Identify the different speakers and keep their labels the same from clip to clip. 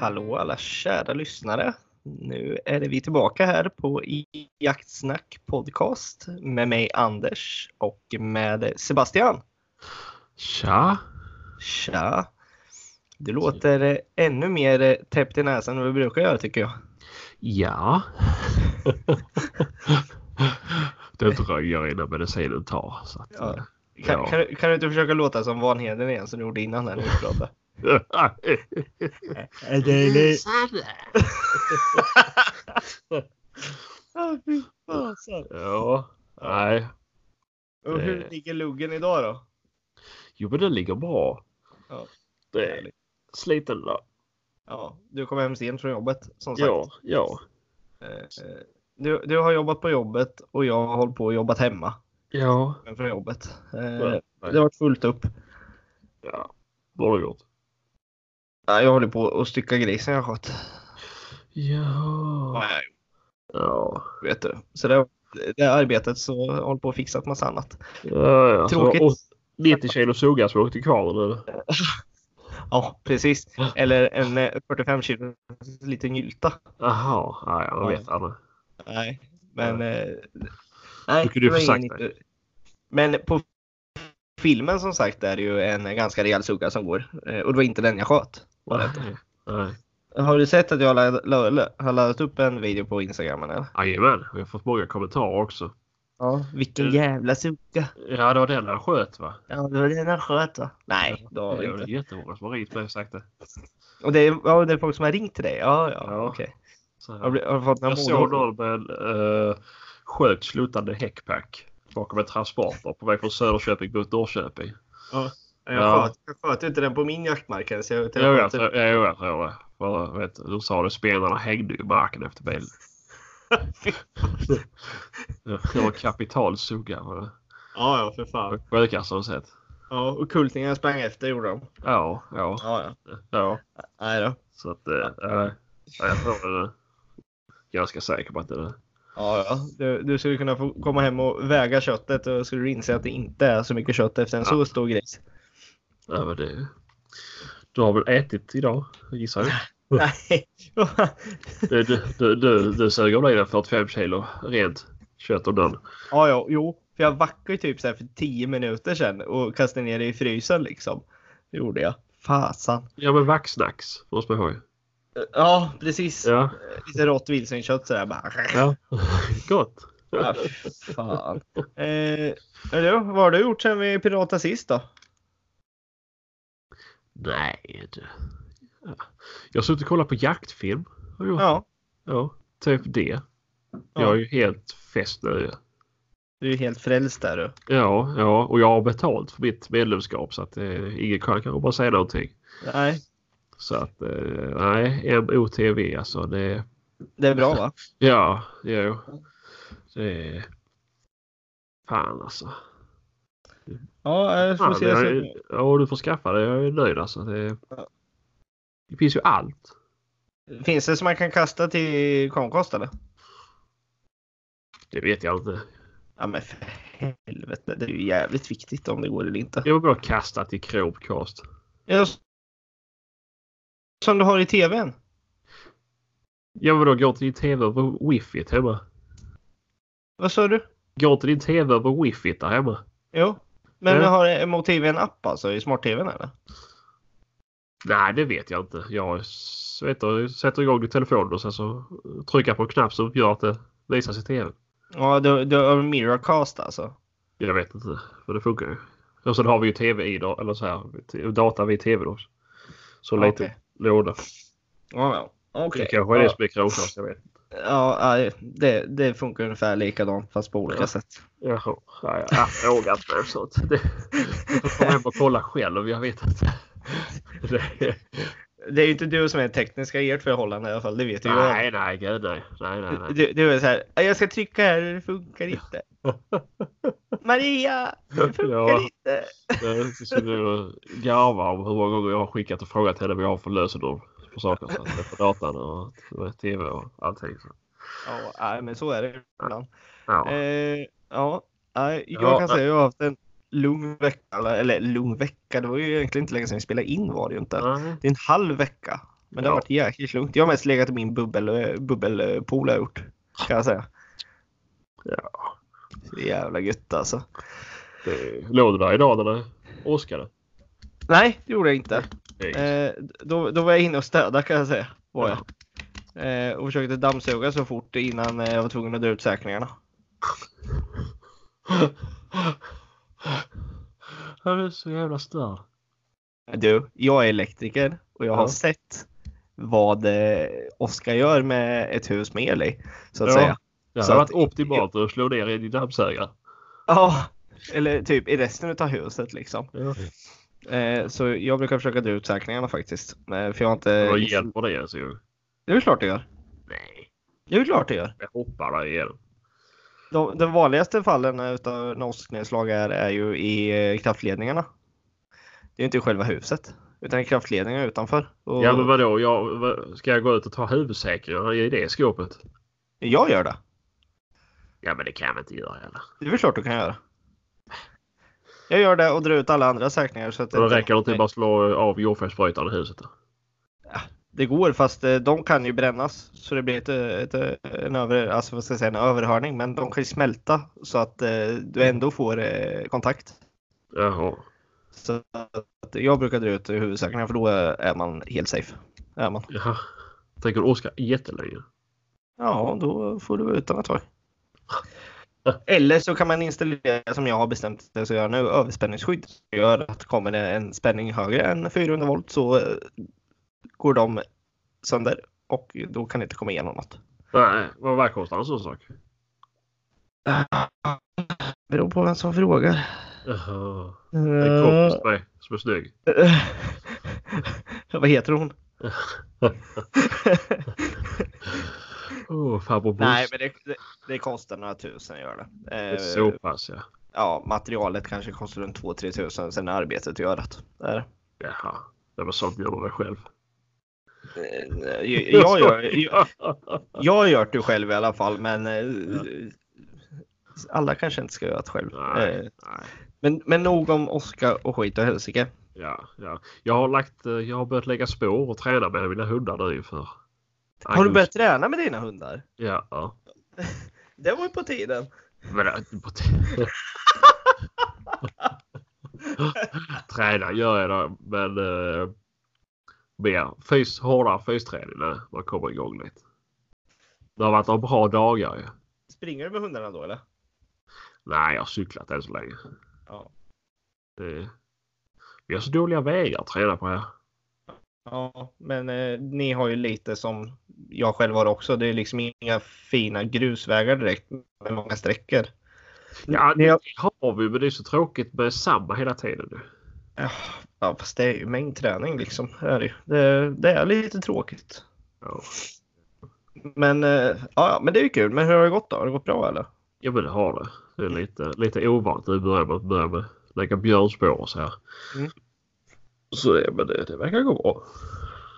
Speaker 1: Hallå alla kära lyssnare! Nu är vi tillbaka här på I- Jaktsnack podcast med mig Anders och med Sebastian.
Speaker 2: Tja!
Speaker 1: Tja! Du låter eh, ännu mer eh, täppt i näsan än vad vi brukar göra tycker jag.
Speaker 2: Ja. det dröjer innan medicinen tar. Så att, eh,
Speaker 1: Ja.
Speaker 2: ja.
Speaker 1: Kan, kan, du- kan du inte försöka låta som Vanheden igen som du gjorde innan när du pratade?
Speaker 2: ja. Nej.
Speaker 1: Och
Speaker 2: Eh.
Speaker 1: hur ligger luggen idag då?
Speaker 2: Jo men den ligger bra.
Speaker 1: Ja.
Speaker 2: Det är sliten där.
Speaker 1: Ja, du kom hem sent från jobbet som sagt.
Speaker 2: Ja, ja.
Speaker 1: Eh, eh, Du, du har jobbat på jobbet och jag har hållit på och jobbat hemma
Speaker 2: Ja.
Speaker 1: från jobbet. Eh,
Speaker 2: Nej.
Speaker 1: Det har varit fullt upp.
Speaker 2: ja. Vad har du gjort?
Speaker 1: Ja, Jag håller på att stycka grisen jag sköt.
Speaker 2: Ja. Ja.
Speaker 1: Vet du. Så det, det arbetet så jag håller på att fixa massa annat.
Speaker 2: ja, ja. Så
Speaker 1: Tråkigt.
Speaker 2: åt- 90 kilo suga som åkte kvar nu.
Speaker 1: Ja, precis. Eller en eh, 45 kilo liten gylta.
Speaker 2: Jaha. Nej, jag vet aldrig.
Speaker 1: Nej, men...
Speaker 2: Ja.
Speaker 1: eh, Nej,
Speaker 2: Tycker du
Speaker 1: det var
Speaker 2: får sagt
Speaker 1: ingen
Speaker 2: det.
Speaker 1: inte- Men på filmen som sagt är det ju en ganska rejäl sugga som går. Eh, Och det var inte den jag sköt. Var det.
Speaker 2: Nej. Nej.
Speaker 1: Har du sett att jag la- la- la- har laddat upp en video på Instagram? Eller?
Speaker 2: Jajamän, vi har fått många kommentarer också.
Speaker 1: Ja. Vilken jävla sugga.
Speaker 2: Ja, det var den han sköt va?
Speaker 1: Ja, det var den han sköt va? Nej, det har
Speaker 2: det
Speaker 1: vi
Speaker 2: är
Speaker 1: inte.
Speaker 2: väl jättemånga som har ringt mig och sagt det.
Speaker 1: Och det är, ja, det är folk som har ringt till dig? Ja, ja,
Speaker 2: Ja.
Speaker 1: okej.
Speaker 2: Så,
Speaker 1: Har, du- har du fått några
Speaker 2: jag
Speaker 1: mål?
Speaker 2: såg någon med en eh, sköt slutande häckpack bakom en transporter på väg från Söderköping mot Norrköping. Ja.
Speaker 1: Jag, sköt, jag sköt inte den på min jaktmark ens. Jag, jag,
Speaker 2: Jo, jag
Speaker 1: jag,
Speaker 2: tror- jo, jag tror det. För, vet, du, de sa det, spelarna hängde ju i marken efter bilen. Det var kapital sugga. var det.
Speaker 1: ja, ja, för fan.
Speaker 2: Det Sjukaste jag sett.
Speaker 1: Ja, och kultingarna sprang efter gjorde de.
Speaker 2: Ja, ja,
Speaker 1: Ja, ja.
Speaker 2: ja.
Speaker 1: Nej då.
Speaker 2: Så att, eh, ja, jag tror det. Ganska säker på att det är det.
Speaker 1: Ja, ja. Du, du skulle kunna få komma hem och väga köttet och skulle du inse att det inte är så mycket kött efter en så stor gris.
Speaker 2: Ja, men det... Du har väl ätit idag, gissar jag.
Speaker 1: Nej.
Speaker 2: Du, du, du, du, du suger av dig den 45 kilo rent kött och den.
Speaker 1: Ja, ja, jo. För jag vackade ju typ så här för 10 minuter sedan och kastade ner det i frysen liksom. Det gjorde jag. Fasan.
Speaker 2: Ja, men vaxnax måste man ha ju.
Speaker 1: Ja, precis.
Speaker 2: Ja,
Speaker 1: Lite rått vildsvinskött sådär bara.
Speaker 2: ja. Gott.
Speaker 1: Ja, fy fan. Eh, du, vad har du gjort sedan vi piratade sist då?
Speaker 2: Nej, du. Ja. Jag har suttit och kollat på jaktfilm. Har jag gjort.
Speaker 1: Ja,
Speaker 2: ja, typ det. Jag
Speaker 1: Ja.
Speaker 2: är ju helt fäst nu.
Speaker 1: du är ju helt frälst där du.
Speaker 2: Ja, ja, och jag har betalt för mitt medlemskap så att eh, ingen kan kan bara säga någonting.
Speaker 1: Nej,
Speaker 2: Så att eh, nej, MOTV alltså. Det,
Speaker 1: det är bra va?
Speaker 2: Ja, jo. Det är... Fan alltså.
Speaker 1: Ja, jag får
Speaker 2: Fan,
Speaker 1: se.
Speaker 2: jag
Speaker 1: så-
Speaker 2: är... Ja, du får skaffa det. Jag är nöjd alltså. Det,
Speaker 1: Ja.
Speaker 2: det finns ju allt.
Speaker 1: Finns det som man kan kasta till Comcast eller?
Speaker 2: Det vet jag inte.
Speaker 1: Ja men för helvete, det är ju jävligt viktigt om det går eller inte.
Speaker 2: Jag vill bara kasta till Chromecast.
Speaker 1: Ja, s- Som du har i tvn?
Speaker 2: Jag vill då gå till din TV över wifi hemma.
Speaker 1: Vad sa du?
Speaker 2: Gå till din TV över wifi där hemma.
Speaker 1: Jo. Men
Speaker 2: Ja.
Speaker 1: har MOTV en app alltså i smart-tvn eller?
Speaker 2: Nej, det vet jag inte. Jag s- vet du, sätter igång din telefon och sen så trycker jag på en knapp som gör att det visas i TV.
Speaker 1: Ja, du, du har Miracast alltså.
Speaker 2: Jag vet inte, för det funkar ju. Och sen har vi ju tv i då, eller så här, t- data vid tv då. Så
Speaker 1: Okej.
Speaker 2: lite låda.
Speaker 1: Ja, ja. Okej.
Speaker 2: Det kanske är det
Speaker 1: Ja.
Speaker 2: som är Chromecast, jag vet.
Speaker 1: Ja, ja, det, det funkar ungefär likadant fast på olika
Speaker 2: Ja.
Speaker 1: sätt.
Speaker 2: Jaha, ja, ja, jag har frågat mig så att det... Jag får komma hem och kolla själv, jag vet inte. Det,
Speaker 1: Det är ju inte du som är den tekniska i ert förhållande i alla fall, det vet ju jag.
Speaker 2: nej, nej, gud nej. Nej, nej, nej.
Speaker 1: Du, du är så här, jag ska trycka här och det funkar inte. Maria, det funkar
Speaker 2: Ja.
Speaker 1: inte.
Speaker 2: Jag skulle nog garva om hur många gånger jag har skickat och frågat henne vad jag har för lösenord på saker. Så att det är på datan och tv och allting. Så.
Speaker 1: Ja, nej, men så är det ibland.
Speaker 2: Ja.
Speaker 1: Eh, ja, nej, jag
Speaker 2: Ja,
Speaker 1: kan
Speaker 2: nej.
Speaker 1: säga att jag har haft en lugn vecka. Eller, eller lugn vecka, det var ju egentligen inte länge sedan vi spelade in var det ju inte.
Speaker 2: Nej.
Speaker 1: Det är en halv vecka. Men det har
Speaker 2: Ja.
Speaker 1: varit jäkligt lugnt. Jag har mest legat i min bubbel, eh, bubbelpool har jag gjort. Kan jag säga.
Speaker 2: Ja.
Speaker 1: Så jävla gött alltså.
Speaker 2: Det, låg du där idag när det åskade?
Speaker 1: Nej, det gjorde jag inte.
Speaker 2: Nej.
Speaker 1: Eh, då, då var jag inne och städade kan jag säga. Var jag. Eh, och försökte dammsuga så fort innan eh, jag var tvungen att dra ut säkringarna.
Speaker 2: Han är så jävla störd.
Speaker 1: Du, jag är elektriker och jag har
Speaker 2: Ja.
Speaker 1: sett vad eh, Oskar gör med ett hus med el i. Så att
Speaker 2: Ja.
Speaker 1: säga.
Speaker 2: Det
Speaker 1: Så
Speaker 2: hade
Speaker 1: att-
Speaker 2: varit optimalt att slå ner i din dammsugare.
Speaker 1: Ja, eller typ i resten av huset liksom.
Speaker 2: Ja.
Speaker 1: Eh, så jag brukar försöka dra ut säkringarna faktiskt. Eh, för jag har inte...
Speaker 2: Vad hjälper det ens ju?
Speaker 1: Det är väl klart det gör.
Speaker 2: Nej,
Speaker 1: Det är väl klart det gör.
Speaker 2: jag hoppar där igen.
Speaker 1: De, de vanligaste fallen eh, utav nollsknedslag är, är ju i eh, kraftledningarna. Det är inte i själva huset. Utan kraftledningar utanför. Och
Speaker 2: Ja men vadå, jag, vad- ska jag gå ut och ta huvudsäkringarna i det skåpet?
Speaker 1: Jag gör det.
Speaker 2: Ja men det kan jag inte göra heller.
Speaker 1: Det är väl klart du kan göra. Jag gör det och drar ut alla andra säkringar. Så att
Speaker 2: Då
Speaker 1: inte-
Speaker 2: räcker det inte bara slå av jordfelsbrytaren i huset. då?
Speaker 1: Det går fast eh, de kan ju brännas så det blir ett, ett, en, över, alltså, vad ska jag säga, en överhörning men de kan ju smälta så att eh, du ändå får eh, kontakt.
Speaker 2: Jaha.
Speaker 1: Så att jag brukar dra ut huvudsäkringar för då är man helt safe. Är man.
Speaker 2: Ja. Tänker Oskar jättelänge.
Speaker 1: Ja, då får du vara utan ett tag. Eller så kan man installera som jag har bestämt det att göra nu, överspänningsskydd. Det gör att kommer det en spänning högre än 400 volt så eh, går de sönder och då kan det inte komma igenom något.
Speaker 2: Nej, vad vad kostar en sån sak?
Speaker 1: Beror på vem som frågar.
Speaker 2: Jaha. Det är en kompis till mig som är snygg.
Speaker 1: Eh, Vad heter hon?
Speaker 2: Oh, farbror
Speaker 1: Nej,
Speaker 2: Bosse.
Speaker 1: men det, det, det kostar några tusen gör det.
Speaker 2: Det
Speaker 1: Eh,
Speaker 2: är Så pass ja.
Speaker 1: Ja, materialet kanske kostar runt 2-3 tusen, sen är arbetet görat. Där.
Speaker 2: Jaha. Det var sånt gjorde jag själv.
Speaker 1: Eh, Jag, jag, gör, jag, jag har gjort det själv i alla fall, men eh, alla kanske inte ska göra det själv.
Speaker 2: Nej,
Speaker 1: Eh,
Speaker 2: nej.
Speaker 1: Men, men nog om Oskar och skit och helsike.
Speaker 2: Ja, ja. Jag har, lagt, eh, jag har börjat lägga spår och träna med mina hundar nu inför.
Speaker 1: Har du
Speaker 2: augusti.
Speaker 1: börjat träna med dina hundar?
Speaker 2: Ja. ja.
Speaker 1: Det var ju på tiden.
Speaker 2: Men, eh, på t- träna gör jag då, men eh, mer fys, hårdare fysträning när man kommer igång lite. Det har varit några bra dagar ju.
Speaker 1: Springer du med hundarna då eller?
Speaker 2: Nej, jag har cyklat än så länge.
Speaker 1: Ja.
Speaker 2: Det... Vi har så dåliga vägar att träna på här.
Speaker 1: Ja, men eh, ni har ju lite som jag själv har också. Det är liksom inga fina grusvägar direkt med många sträckor.
Speaker 2: Ja,
Speaker 1: Ni
Speaker 2: det
Speaker 1: har-
Speaker 2: har vi, men det är så tråkigt med samma hela tiden nu.
Speaker 1: Ja, fast det är ju mängdträning liksom. Det är, det ju. det, det är lite tråkigt.
Speaker 2: Ja.
Speaker 1: Men, eh, ja, ja, men det är ju kul. Men hur har det gått då? Har det gått bra eller?
Speaker 2: Ja men det har det. Det är lite, lite ovant nu börjar man börja med lägga björnspår och så här.
Speaker 1: Mm.
Speaker 2: Så det, men det, det verkar gå bra.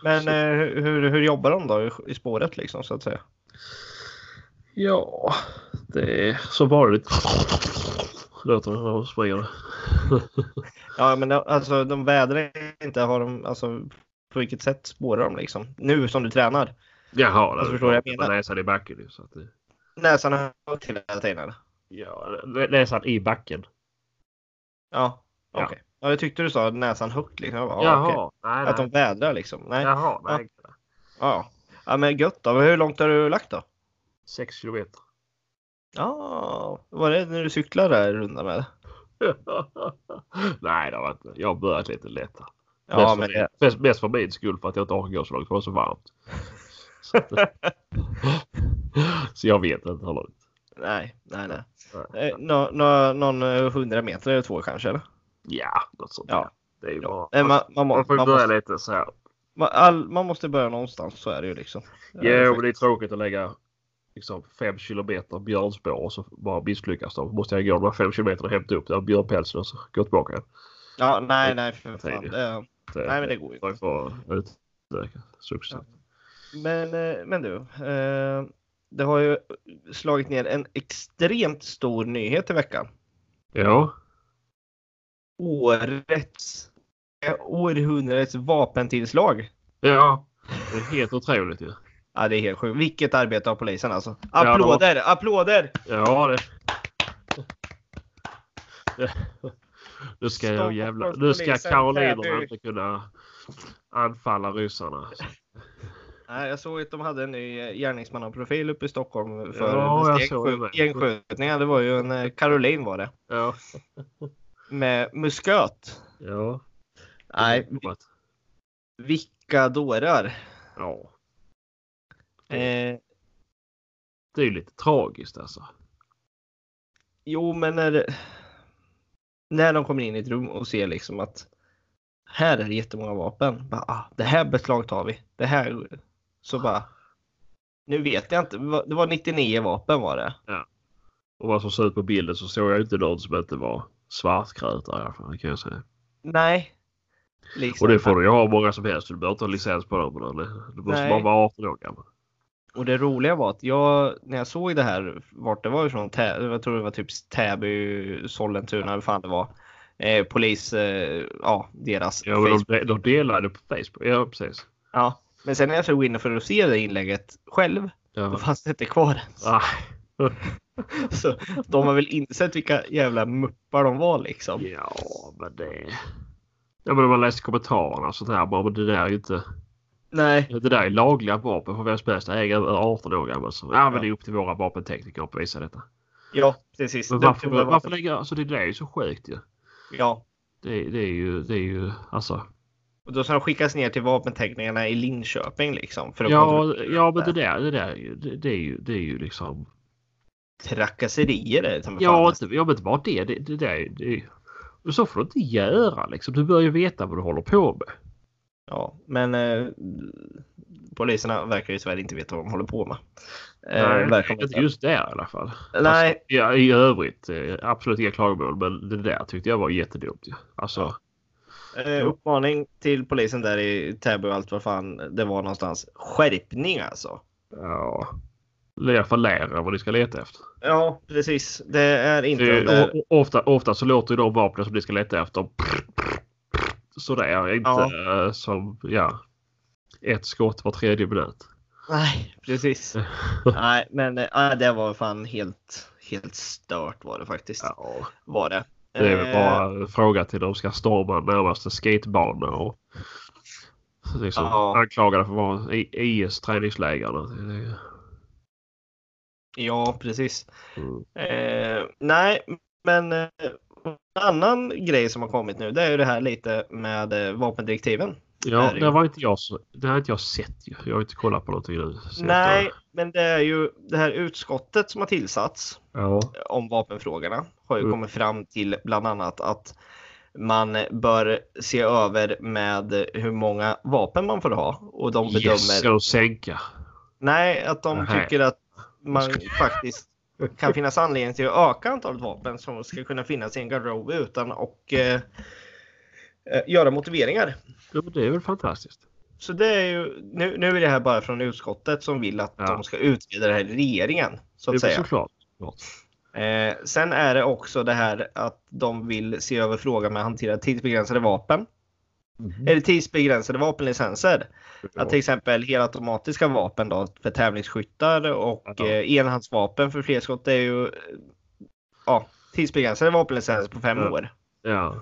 Speaker 1: Men eh, hur, hur jobbar de då i, i spåret liksom så att säga?
Speaker 2: Ja, det är som vanligt. Låter det när de springer.
Speaker 1: Ja, men alltså de vädrar inte. Har de, alltså, på vilket sätt spårar de liksom? Nu som du tränar?
Speaker 2: Jaha,
Speaker 1: Jag
Speaker 2: det
Speaker 1: förstår vad jag menar.
Speaker 2: med näsan i backen. ju, Så att det,
Speaker 1: Näsan högt till hela tiden? eller?
Speaker 2: ja, nä- näsan i backen.
Speaker 1: Ja,
Speaker 2: Ja.
Speaker 1: okej. Ja, jag tyckte du sa näsan högt liksom. Jag bara, ja,
Speaker 2: Jaha,
Speaker 1: okej.
Speaker 2: nej,
Speaker 1: Att de
Speaker 2: nej.
Speaker 1: vädrar liksom. Nej. Ja.
Speaker 2: Jaha, nej.
Speaker 1: ja. men gött då. Hur långt har du lagt då?
Speaker 2: Sex kilometer.
Speaker 1: Ja, var det när du cyklade där runda med?
Speaker 2: nej, det var inte. Jag har börjat lite lättare.
Speaker 1: Ja,
Speaker 2: mest,
Speaker 1: men
Speaker 2: för,
Speaker 1: det,
Speaker 2: min- mest, mest för min skull för att jag inte orkar gå så långt för det var så varmt. Så, så jag vet inte hur långt.
Speaker 1: nej, nej, nej.
Speaker 2: Nej.
Speaker 1: Eh, nå, nå, någon eh, hundra meter eller två kanske? Eller?
Speaker 2: Ja, något sånt.
Speaker 1: Ja.
Speaker 2: Det är ju bra.
Speaker 1: Eh, Man, man, må-
Speaker 2: Man får ju
Speaker 1: man,
Speaker 2: börja
Speaker 1: måste,
Speaker 2: lite så här.
Speaker 1: man, all, man måste börja någonstans, så är det ju liksom.
Speaker 2: Jo, men det är tråkigt att lägga liksom fem kilometer björnspår och så bara misslyckas de. Måste jag gå de här fem kilometerna och hämta upp den här björnpälsen och så gå tillbaka igen.
Speaker 1: Ja, nej, nej, för fan.
Speaker 2: det-
Speaker 1: Det,
Speaker 2: Så,
Speaker 1: nej, men det går ju.
Speaker 2: Man får utöka successivt.
Speaker 1: Men, eh, men du, eh, det har ju slagit ner en extremt stor nyhet i veckan.
Speaker 2: Ja.
Speaker 1: Årets, eh, århundradets vapentillslag.
Speaker 2: Ja. Det är helt otroligt ju.
Speaker 1: Ja, det är helt sjukt. Vilket arbete av polisen alltså.
Speaker 2: Ja, de-
Speaker 1: Applåder! Applåder!
Speaker 2: Ja, det... det... Nu ska jag
Speaker 1: Stockholms
Speaker 2: jävla... Nu ska
Speaker 1: polisen,
Speaker 2: karolinerna
Speaker 1: Täby.
Speaker 2: inte kunna anfalla ryssarna.
Speaker 1: Nej, jag såg att de hade en ny eh, gärningsmannaprofil uppe i Stockholm för
Speaker 2: Ja, jag
Speaker 1: gängskjut-
Speaker 2: såg det med.
Speaker 1: gängskjutningar. Det var ju en eh, Caroline var det.
Speaker 2: Ja.
Speaker 1: Med musköt.
Speaker 2: Ja.
Speaker 1: Nej, vilka dårar.
Speaker 2: Ja.
Speaker 1: Eh,
Speaker 2: Det är ju lite tragiskt alltså.
Speaker 1: jo, men när, det- när de kommer in i ett rum och ser liksom att här är det jättemånga vapen. Bara, ah, det här beslagtar vi. Det här. Så bara. Nu vet jag inte. va- Det var 99 vapen var det.
Speaker 2: Och vad som såg ut på bilden så såg jag inte någon som inte var svartkrötare i alla fall. Kan jag säga.
Speaker 1: Nej. Liksom.
Speaker 2: Och det får du ju ha hur många som helst. Du behöver inte ha licens på dem. Eller? Du måste
Speaker 1: Nej.
Speaker 2: bara vara 18 år gammal.
Speaker 1: Och det roliga var att jag, när jag såg det här, vart det var ifrån, Tä, jag tror det var typ Täby, Sollentuna, hur fan det var. Eh, polis, eh, ja deras
Speaker 2: Ja, men de, de delade på Facebook. Ja, precis.
Speaker 1: Ja. Men sen när jag skulle gå in för att se det inlägget själv, då
Speaker 2: Ja.
Speaker 1: fanns det inte kvar ens.
Speaker 2: Ah,
Speaker 1: Så de har väl insett vilka jävla muppar de var liksom.
Speaker 2: ja, men det... Ja, men när man läser kommentarerna och sånt här. Bara, men det där är ju inte...
Speaker 1: Nej.
Speaker 2: Det där är lagliga vapen för vem som helst äger över 18 år gammal. Så, ja, men det är upp till våra vapentekniker att bevisa detta.
Speaker 1: Ja, precis.
Speaker 2: Men
Speaker 1: De-
Speaker 2: varför,
Speaker 1: de- de-
Speaker 2: varför lägger... Alltså det där är ju så sjukt ju.
Speaker 1: Ja.
Speaker 2: Det, det är ju... Det är ju... Alltså...
Speaker 1: Och då ska de skickas ner till vapenteckningarna i Linköping liksom. För att
Speaker 2: Ja,
Speaker 1: kontrollera
Speaker 2: ja, men
Speaker 1: det.
Speaker 2: det där, det där är ju- det, det är ju, det är ju liksom...
Speaker 1: Trakasserier är det som
Speaker 2: Ja,
Speaker 1: fan.
Speaker 2: inte, ja, men inte bara det. Det, det, där, är ju- det, är ju- men så får du inte göra liksom. Du bör ju veta vad du håller på med.
Speaker 1: ja. Men eh, poliserna verkar ju tyvärr inte veta vad de håller på med.
Speaker 2: Nej,
Speaker 1: verkar de
Speaker 2: Eh, inte just där i alla fall.
Speaker 1: Nej,
Speaker 2: Ja, I övrigt, eh, absolut inga klagomål, men det där tyckte jag var jättedumt. ju. Alltså,
Speaker 1: Eh, uppmaning till polisen där i Täby och allt vad fan det var någonstans. Skärpning alltså.
Speaker 2: ja. I alla fall lära vad ni ska leta efter.
Speaker 1: Ja, precis. Det är inte... eh,
Speaker 2: Det,
Speaker 1: Det där-
Speaker 2: o- o- ofta, ofta så låter ju de vapnen som ni ska leta efter sådär. Inte eh, som ja, ett skott var tredje minut.
Speaker 1: Nej, precis. Nej, men eh, det var fan helt, helt stört var det faktiskt.
Speaker 2: Ja,
Speaker 1: Var det.
Speaker 2: det är väl
Speaker 1: Eh,
Speaker 2: bara en fråga till de ska storma närmaste skatebana och liksom
Speaker 1: Ja.
Speaker 2: anklagade för att vara i- IS träningsläger. Det-
Speaker 1: Ja, precis.
Speaker 2: Mm.
Speaker 1: Eh, nej, men eh, en annan grej som har kommit nu det är ju det här lite med eh, vapendirektiven.
Speaker 2: Ja,
Speaker 1: Herregud.
Speaker 2: det var inte jag, så- det har inte jag sett ju. Jag har inte kollat på någonting nu. Så
Speaker 1: Nej,
Speaker 2: att,
Speaker 1: men det är ju det här utskottet som har tillsatts
Speaker 2: Ja.
Speaker 1: om vapenfrågorna har ju
Speaker 2: Mm.
Speaker 1: kommit fram till bland annat att man bör se över med hur många vapen man får ha och de bedömer
Speaker 2: Yes, ska de sänka.
Speaker 1: nej att de
Speaker 2: Nähä.
Speaker 1: tycker att man faktiskt kan finnas anledning till att öka antalet vapen som ska kunna finnas i en garderob utan och eh, eh, göra motiveringar.
Speaker 2: Ja, men det är väl fantastiskt.
Speaker 1: Så det är ju nu, nu är det här bara från utskottet som vill att
Speaker 2: Ja.
Speaker 1: de ska utreda det här i regeringen så
Speaker 2: Det är
Speaker 1: att säga.
Speaker 2: såklart. såklart.
Speaker 1: Eh, sen är det också det här att de vill se över frågan med att hantera tidsbegränsade vapen. Eller tidsbegränsade vapenlicenser. Att till exempel helautomatiska vapen då för tävlingsskyttar och
Speaker 2: Ja.
Speaker 1: eh, enhandsvapen för flerskott är ju eh, ja, tidsbegränsade vapenlicenser på fem
Speaker 2: Ja.
Speaker 1: år.
Speaker 2: Ja.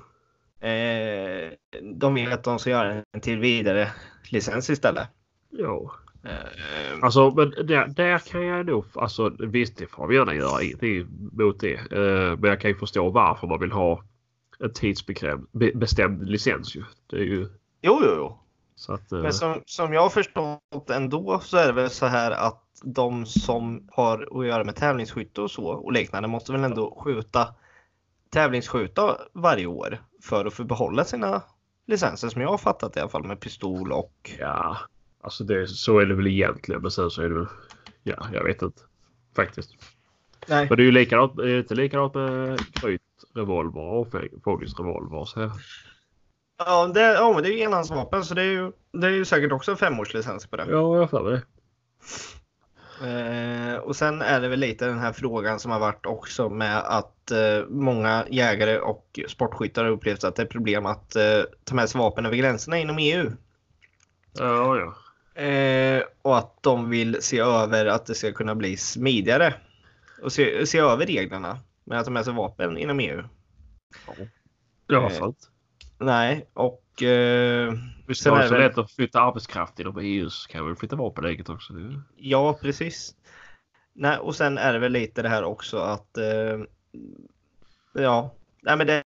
Speaker 1: Eh, de vill att de ska göra en till vidare licens istället.
Speaker 2: Ja.
Speaker 1: Eh,
Speaker 2: Alltså, men där, där kan jag nog... Alltså, visst, det får vi gärna göra. Ingenting mot det. Eh, men jag kan ju förstå varför man vill ha en tidsbestämd licens. Ju. Det är ju...
Speaker 1: jo, jo, jo.
Speaker 2: Så att, eh,
Speaker 1: Men som, som jag har förstått ändå så är det väl så här att de som har att göra med tävlingsskytte och så och liknande måste väl ändå skjuta tävlingsskjuta varje år för att få behålla sina licenser som jag har fattat i alla fall med pistol och
Speaker 2: Ja, alltså det, så är det väl egentligen. Men sen så är det väl... Ja, jag vet inte. Faktiskt.
Speaker 1: Nej.
Speaker 2: Men det är ju likadant, det är inte likadant med krytrevolver och fång- fångstrevolver. Så,
Speaker 1: Ja, det, ja men det är ju enhandsvapen så det är ju, det är ju säkert också en femårslicens på det.
Speaker 2: ja, jag får det.
Speaker 1: Eh, och sen är det väl lite den här frågan som har varit också med att eh, många jägare och sportskyttar har upplevt att det är problem att eh, ta med sig vapen över gränserna inom EU.
Speaker 2: Ja, ja.
Speaker 1: E Eh, de vill se över att det ska kunna bli smidigare. Och se, se över reglerna med att ta med sig vapen inom E EU.
Speaker 2: Det
Speaker 1: Eh,
Speaker 2: var sant.
Speaker 1: Nej, och... Eh,
Speaker 2: Visst
Speaker 1: sen
Speaker 2: var
Speaker 1: är
Speaker 2: det så
Speaker 1: det-
Speaker 2: lätt att flytta arbetskraft inom EU så kan vi flytta vapen eget också. Det är-
Speaker 1: Ja, precis. Nej, och sen är det väl lite det här också att... Eh, ja, nej, men det,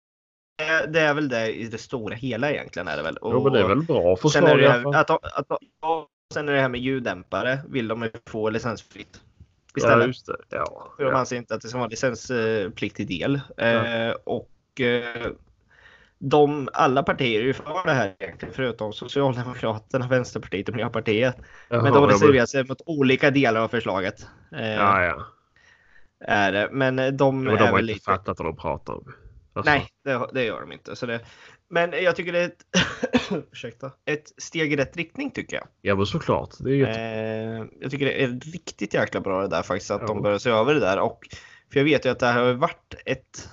Speaker 1: det är väl det i det stora hela egentligen är det väl.
Speaker 2: Jo, men det är väl bra
Speaker 1: sen är
Speaker 2: förslag
Speaker 1: det
Speaker 2: i
Speaker 1: här,
Speaker 2: alla fall.
Speaker 1: att, de- att, de- ja, sen är det här med ljuddämpare vill de ju få licensfritt.
Speaker 2: Ja,
Speaker 1: Istället
Speaker 2: just det. Ja.
Speaker 1: för de
Speaker 2: Ja.
Speaker 1: anser inte att det ska vara licenspliktig del.
Speaker 2: Ja.
Speaker 1: Eh, och eh, de, alla partier är ju för det här egentligen förutom Socialdemokraterna, Vänsterpartiet och Miljöpartiet. Men
Speaker 2: Jaha,
Speaker 1: de
Speaker 2: jag
Speaker 1: reserverar sig mot olika delar av förslaget. Eh,
Speaker 2: bara- Ja, ja.
Speaker 1: är det. Men eh, de
Speaker 2: Jo, Men de
Speaker 1: är
Speaker 2: har
Speaker 1: väl
Speaker 2: inte
Speaker 1: lite...
Speaker 2: fattat vad de pratar om. Alltså,
Speaker 1: Nej, det, det gör de inte. Så det... Men jag tycker det är ett... Ursäkta. ett steg i rätt riktning tycker jag.
Speaker 2: Ja, men såklart. Det är jätte...
Speaker 1: Eh, jag tycker det är riktigt jäkla bra det där faktiskt att
Speaker 2: Ja.
Speaker 1: de börjar se över det där. Och, för jag vet ju att det här har ju varit ett...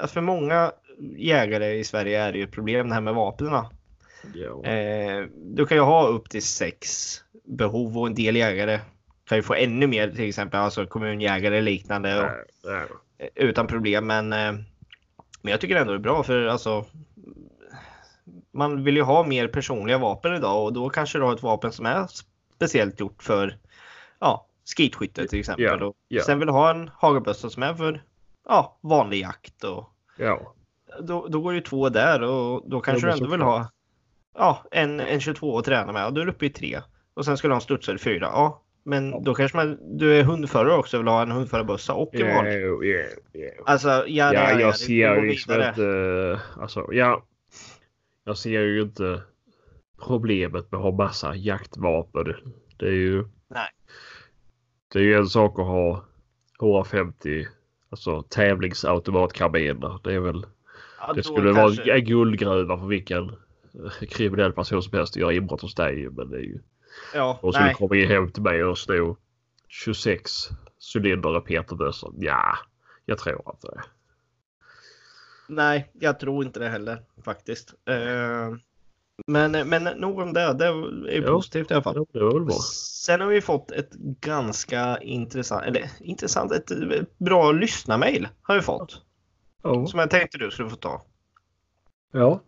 Speaker 1: Alltså för många jägare i Sverige är det ju ett problem det här med vapnen.
Speaker 2: ja.
Speaker 1: Eh, du kan ju ha upp till sex behov och en del jägare kan ju få ännu mer till exempel alltså kommunjägare och liknande och,
Speaker 2: Nej, nej.
Speaker 1: eh, utan problem. Men, eh, men jag tycker ändå det är bra för alltså man vill ju ha mer personliga vapen idag och då kanske du har ett vapen som är speciellt gjort för ja, skytteskytte till exempel.
Speaker 2: Ja,
Speaker 1: och
Speaker 2: ja.
Speaker 1: Sen vill du ha en hagelbössa som är för ja, vanlig jakt och
Speaker 2: Ja.
Speaker 1: då, då går ju två där och då kanske
Speaker 2: men
Speaker 1: du ändå vill
Speaker 2: såklart.
Speaker 1: ha ja, en, en 22 att träna med och då är du uppe i tre. Och sen ska du ha en studsare fyra. Ja, men då kanske man, du är hundförare också och vill ha en hundförarbössa och en
Speaker 2: Ja,
Speaker 1: vanlig.
Speaker 2: jo, ja, ja.
Speaker 1: Alltså, ja, ja,
Speaker 2: Ja,
Speaker 1: ja,
Speaker 2: jag
Speaker 1: det- vi
Speaker 2: ser
Speaker 1: går
Speaker 2: ju liksom
Speaker 1: vidare.
Speaker 2: inte... Alltså, ja. Jag ser ju inte problemet med att ha massa jaktvapen. Det är ju...
Speaker 1: Nej.
Speaker 2: Det är ju en sak att ha 150 alltså tävlingsautomatkarbiner. Det är väl...
Speaker 1: Ja,
Speaker 2: Det
Speaker 1: då
Speaker 2: skulle
Speaker 1: kanske-
Speaker 2: vara en guldgruva för vilken eh, kriminell person som helst att göra inbrott hos dig. Men det är ju...
Speaker 1: Ja,
Speaker 2: Och skulle
Speaker 1: nej,
Speaker 2: komma in hem till mig och sno 26 cylindrar Peterbössor. Ja, jag tror inte det.
Speaker 1: nej, jag tror inte det heller faktiskt. Eh, men, men nog om det. Det är ju
Speaker 2: Jo.
Speaker 1: positivt i alla fall.
Speaker 2: Ja, Det var väl bra.
Speaker 1: Sen har vi fått ett ganska intressant, eller intressant, ett bra lyssnarmail har vi fått.
Speaker 2: Ja.
Speaker 1: Som jag tänkte du skulle få ta.
Speaker 2: ja.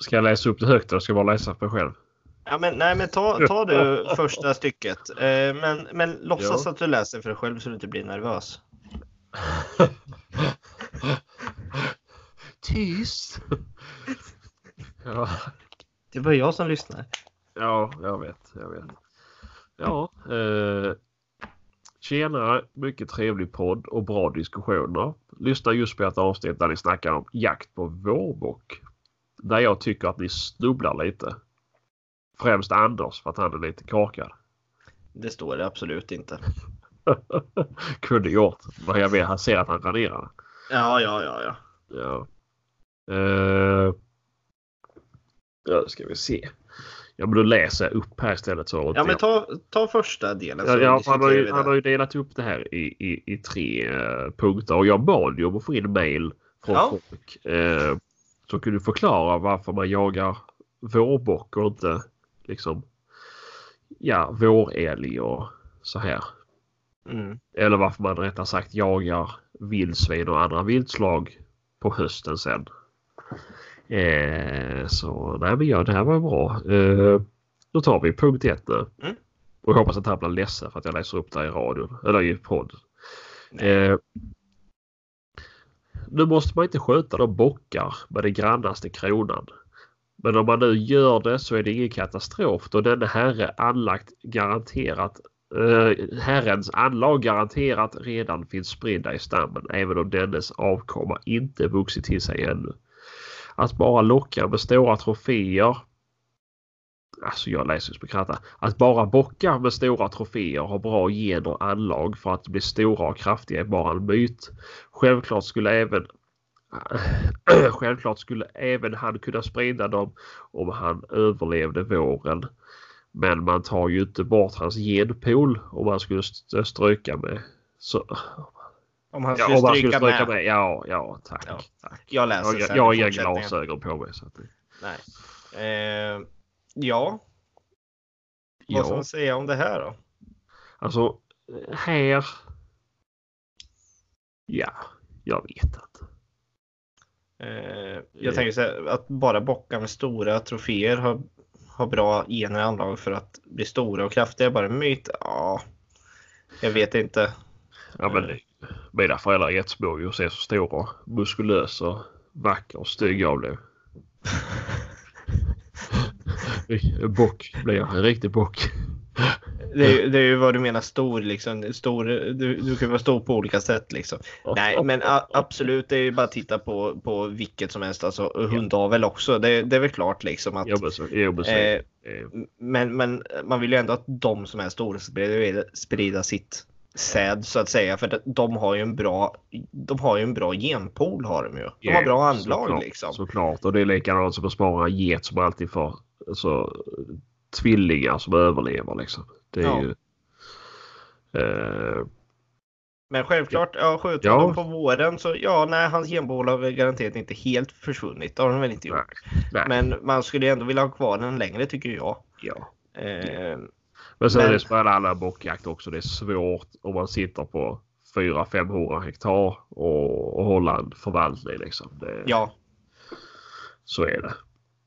Speaker 2: Ska jag läsa upp det högt eller ska jag bara läsa för mig själv?
Speaker 1: Ja, men, nej, men ta, ta du första stycket. Eh, men, men låtsas
Speaker 2: Ja.
Speaker 1: att du läser för dig själv så du inte blir nervös.
Speaker 2: Tyst! ja.
Speaker 1: Det är bara jag som lyssnar.
Speaker 2: Ja, jag vet. Jag vet. Ja. Eh, tjena, mycket trevlig podd och bra diskussioner. Lyssna just på ert avsnitt där ni snackar om jakt på vårbock. Där jag tycker att ni snubblar lite. Främst Anders för att han är lite kakad.
Speaker 1: Det står det absolut inte.
Speaker 2: Kunde gjort. Men jag vet, han ser att han raderar.
Speaker 1: Ja, ja, ja, ja.
Speaker 2: Ja. Eh, ja, ska vi se. Ja, men då läser jag upp här istället. Så
Speaker 1: Ja, men ta, ta första delen.
Speaker 2: Ja,
Speaker 1: så
Speaker 2: ja,
Speaker 1: diskuterar
Speaker 2: han, har
Speaker 1: vi
Speaker 2: ju,
Speaker 1: det.
Speaker 2: han har ju delat upp det här i, i, i tre eh, punkter och jag bad ju om att få in mail från
Speaker 1: Ja.
Speaker 2: folk eh, som kunde förklara varför man jagar vårbock och inte liksom ja, vårälg och så här.
Speaker 1: Mm.
Speaker 2: Eller varför man rättare sagt jagar vildsvin och andra viltslag på hösten sen. Eh, så nej men ja, det här var ju bra. Eh, då tar vi punkt ett nu.
Speaker 1: Mm.
Speaker 2: Och jag hoppas att han blir ledsen för att jag läser upp det här i radion. Eller i podd.
Speaker 1: Nej.
Speaker 2: Eh, nu måste man inte skjuta de bockar med den grannaste kronan. Men om man nu gör det så är det ingen katastrof då denne herre anlagt garanterat eh, Herrens anlag garanterat redan finns spridda i stammen även om dennes avkomma inte vuxit till sig ännu. Att bara locka med stora troféer. Alltså jag läser ju skratta. Att bara bockar med stora troféer har bra gener och anlag för att bli stora och kraftiga är bara en myt. Självklart skulle även Självklart skulle även han kunna sprida dem om han överlevde våren. Men man tar ju inte bort hans genpool om man skulle st- stryka med. Så,
Speaker 1: Om han skulle
Speaker 2: ja, om man skulle
Speaker 1: stryka
Speaker 2: stryka med.
Speaker 1: med.
Speaker 2: Ja, ja, tack.
Speaker 1: Ja, Alltså,
Speaker 2: tack.
Speaker 1: Jag läser
Speaker 2: Jag, jag,
Speaker 1: sen
Speaker 2: jag har inga
Speaker 1: fortsättningen.
Speaker 2: glasögon på mig. Så att det...
Speaker 1: Nej. Eh, ja, Vad ska man säga om det här då?
Speaker 2: Alltså, här... Ja, jag vet inte.
Speaker 1: Eh, jag tänker så här, att bara bockar med stora troféer har, har bra gener i anlag för att bli stora och kraftiga. Bara en myt? Ja, jag vet inte.
Speaker 2: Ja, men mina föräldrar är jättesmå ju och ser så stora, muskulös och vacker och stygg jag blev. En bock blev jag, en riktig bock.
Speaker 1: Det är, det är ju vad du menar stor liksom. Stor, du, du kan vara stor på olika sätt liksom. Nej men a- absolut, det är ju bara att titta på, på vilket som helst. Alltså hundavel också. Det, det är väl klart liksom att.
Speaker 2: Jag blir så- jag blir så-
Speaker 1: Eh,
Speaker 2: eh,
Speaker 1: Men, men man vill ju ändå att de som är stora ska sprida, sprida sitt säd så att säga. För att de har ju en bra, de har ju en bra genpool har de ju. De har bra
Speaker 2: Ja,
Speaker 1: anlag
Speaker 2: såklart,
Speaker 1: liksom.
Speaker 2: Såklart. Och det är likadant som att spara en get som alltid får alltså, tvillingar som överlever. Liksom. Det är
Speaker 1: Ja.
Speaker 2: ju... Eh,
Speaker 1: Men självklart, ja, skjuter
Speaker 2: Ja.
Speaker 1: man dem på våren så ja, nej, hans genpool har väl garanterat inte helt försvunnit. Det har den väl inte gjort.
Speaker 2: nej. nej. Men,
Speaker 1: Men man skulle ändå vilja ha kvar den längre tycker jag.
Speaker 2: ja.
Speaker 1: Eh,
Speaker 2: men sen
Speaker 1: Men-
Speaker 2: är det som med alla bockjakt också. Det är svårt om man sitter på 400-500 hektar och, och hålla en förvaltning. Liksom. Det,
Speaker 1: ja,
Speaker 2: Så är det.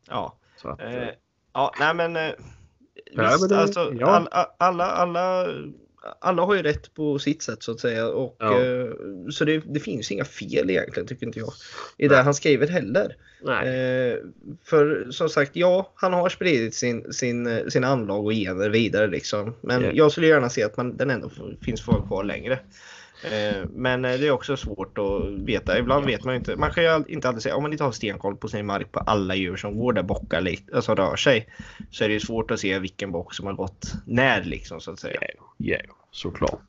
Speaker 1: ja.
Speaker 2: Så att, eh,
Speaker 1: Eh, ja, nej men. Eh,
Speaker 2: Nej,
Speaker 1: visst,
Speaker 2: men det-
Speaker 1: alltså,
Speaker 2: ja.
Speaker 1: all, a- alla, alla, alla har ju rätt på sitt sätt så att säga. Och,
Speaker 2: Ja.
Speaker 1: eh, så det, det finns inga fel egentligen tycker inte jag. I det han skriver heller.
Speaker 2: nej.
Speaker 1: Eh, för som sagt, ja, han har spridit sin, sin, eh, sina anlag och gener vidare liksom. Men
Speaker 2: Ja.
Speaker 1: jag skulle gärna se att man, den ändå f- finns kvar kvar längre. Eh, men eh, det är också svårt att veta. Ibland vet man ju inte. Man kan ju all- inte alltid säga, om man inte har stenkoll på sin mark på alla djur som går där bockar lik- alltså rör sig. Så är det ju svårt att se vilken bock som har gått när liksom så att säga.
Speaker 2: Ja, såklart.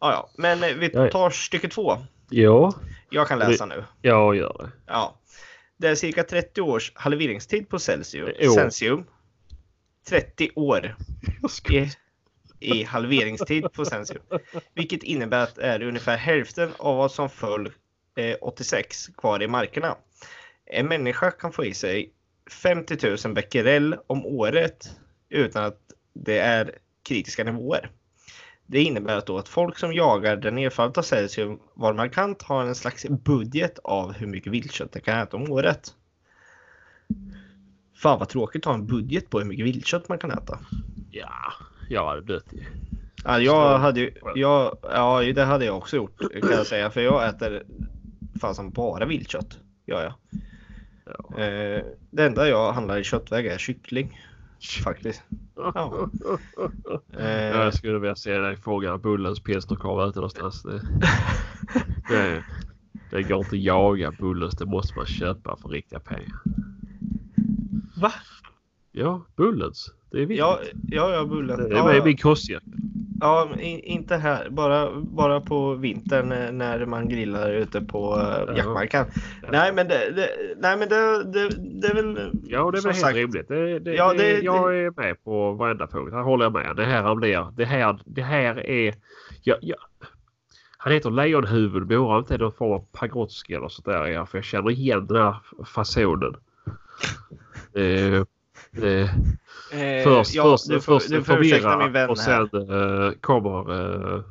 Speaker 1: Ja, ja. Men eh, vi
Speaker 2: Ja.
Speaker 1: tar stycke två.
Speaker 2: Ja,
Speaker 1: Jag kan läsa nu.
Speaker 2: jag gör det.
Speaker 1: Ja. Det är cirka 30 års halveringstid på Celsius.
Speaker 2: Jo.
Speaker 1: Celsius. 30 år
Speaker 2: Jag
Speaker 1: i, i halveringstid på Celsius. Vilket innebär att det är ungefär hälften av vad som föll eh, 86 kvar i markerna. En människa kan få i sig 50 000 becquerel om året utan att det är kritiska nivåer. Det innebär att, då att folk som jagar där nedfallet av cesium var markant har en slags budget av hur mycket viltkött de kan äta om året. Fan vad tråkigt att ha en budget på hur mycket viltkött man kan äta.
Speaker 2: Ja, jag hade dött i.
Speaker 1: Ja,
Speaker 2: Så-
Speaker 1: jag hade ju, jag, ja, det hade jag också gjort kan jag säga. För jag äter fasen bara viltkött. Gör jag.
Speaker 2: Ja.
Speaker 1: Eh, det enda jag handlar i köttväg är kyckling. Faktiskt. Eh, Ja.
Speaker 2: Ja,
Speaker 1: Eh,
Speaker 2: Jag skulle vilja se dig fråga Bullens pilsnerkorv ute någonstans. Det, det, det går inte att jaga Bullens. Det måste man köpa för riktiga pengar.
Speaker 1: va?
Speaker 2: Ja, Bullens. Det är viktigt.
Speaker 1: Ja, ja, ja bullen.
Speaker 2: det är
Speaker 1: Ja,
Speaker 2: med i
Speaker 1: ja.
Speaker 2: min kostcirkel.
Speaker 1: Ja, men i- inte här. Bara, bara på vintern eh, när man grillar ute på
Speaker 2: Ja.
Speaker 1: eh, jaktmarken.
Speaker 2: Ja.
Speaker 1: Nej, men det, det, nej, men det, det, det är väl...
Speaker 2: Ja, det är
Speaker 1: som
Speaker 2: väl helt
Speaker 1: sagt.
Speaker 2: rimligt. Det, det,
Speaker 1: Ja,
Speaker 2: det,
Speaker 1: det-
Speaker 2: jag är med på varenda punkt. Här håller jag med. Det här blir... Det här, det här är... Ja, ja. Han heter Lejonhuvud. Men jag undrar om det är någon form av Pagrotsky eller sånt där. Ja, för jag känner igen den här fasonen. Eh, eh,
Speaker 1: Eh,
Speaker 2: först
Speaker 1: ja,
Speaker 2: först,
Speaker 1: du får,
Speaker 2: först
Speaker 1: du får ursäkta min vän
Speaker 2: och
Speaker 1: här.
Speaker 2: sen eh, kommer eh,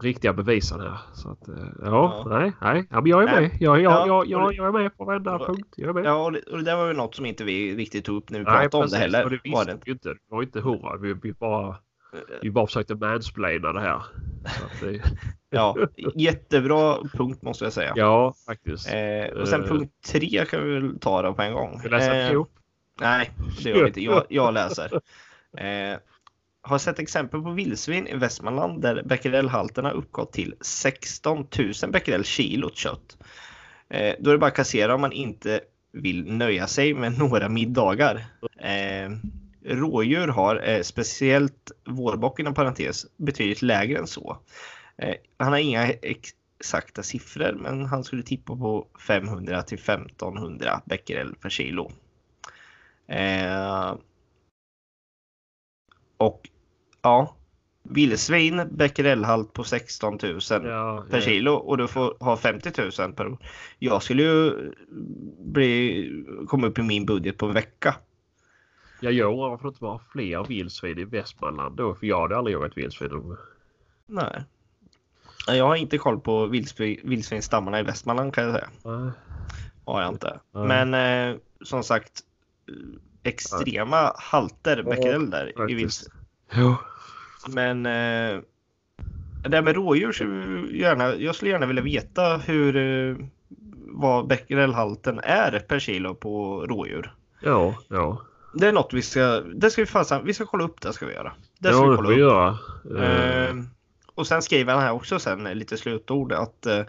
Speaker 2: riktiga bevisen här. Så att, eh, ja,
Speaker 1: Ja.
Speaker 2: Nej, nej. Ja, men jag är
Speaker 1: Nej.
Speaker 2: med. Jag, jag,
Speaker 1: Ja,
Speaker 2: jag,
Speaker 1: och
Speaker 2: jag,
Speaker 1: det-
Speaker 2: jag är med på varenda
Speaker 1: och-
Speaker 2: punkt. Jag är med.
Speaker 1: Ja, och det, och det där var ju något som inte vi riktigt tog upp när vi pratade om det
Speaker 2: precis.
Speaker 1: heller.
Speaker 2: Och det
Speaker 1: var
Speaker 2: visste
Speaker 1: det.
Speaker 2: vi ju inte. Det var inte hurra. Vi, vi, bara, vi bara försökte mansplaina det här. Så att det,
Speaker 1: Ja, jättebra punkt måste jag säga.
Speaker 2: ja, faktiskt.
Speaker 1: Eh, och sen
Speaker 2: Eh.
Speaker 1: punkt tre kan vi väl ta då på en gång.
Speaker 2: Vi läser
Speaker 1: Eh,
Speaker 2: ihop.
Speaker 1: Nej, det gör vi inte. Jag, jag läser. Eh, har sett exempel på vildsvin i Västmanland där becquerelhalterna uppgått till 16 000 becquerel kilot kött. Eh, då är det bara att kassera om man inte vill nöja sig med några middagar. Eh, rådjur har, eh, speciellt vårbock inom parentes, betydligt lägre än så. Eh, han har inga exakta siffror men han skulle tippa på 500 till 1500 becquerel per kilo. Eh, och ja, vildsvin becquerelhalt på 16 000
Speaker 2: Ja, eh,
Speaker 1: per kilo och du får ha 50 000 per år. Jag skulle ju bli, komma upp i min budget på en vecka.
Speaker 2: Jag gör undrar varför det inte var fler vildsvin i Västmanland då? För jag hade aldrig jagat vildsvin. om-
Speaker 1: Nej. Nej, Jag har inte koll på vildsvin, vildsvinsstammarna i Västmanland kan jag säga.
Speaker 2: Nej.
Speaker 1: Har jag inte.
Speaker 2: Nej.
Speaker 1: Men eh, som sagt eh, extrema halter becquerel där i
Speaker 2: faktiskt.
Speaker 1: vildsvin.
Speaker 2: Jo.
Speaker 1: Men eh, det där med rådjur, så gärna, jag skulle gärna vilja veta hur eh, vad becquerelhalten är per kilo på rådjur.
Speaker 2: Ja, ja.
Speaker 1: Det är något vi ska, det ska vi fasen, vi ska kolla upp det ska vi göra. Det ska
Speaker 2: ja,
Speaker 1: vi
Speaker 2: det
Speaker 1: kolla
Speaker 2: får vi
Speaker 1: upp.
Speaker 2: göra. Eh,
Speaker 1: Eh, och sen skriver han här också sen eh, lite slutord att eh,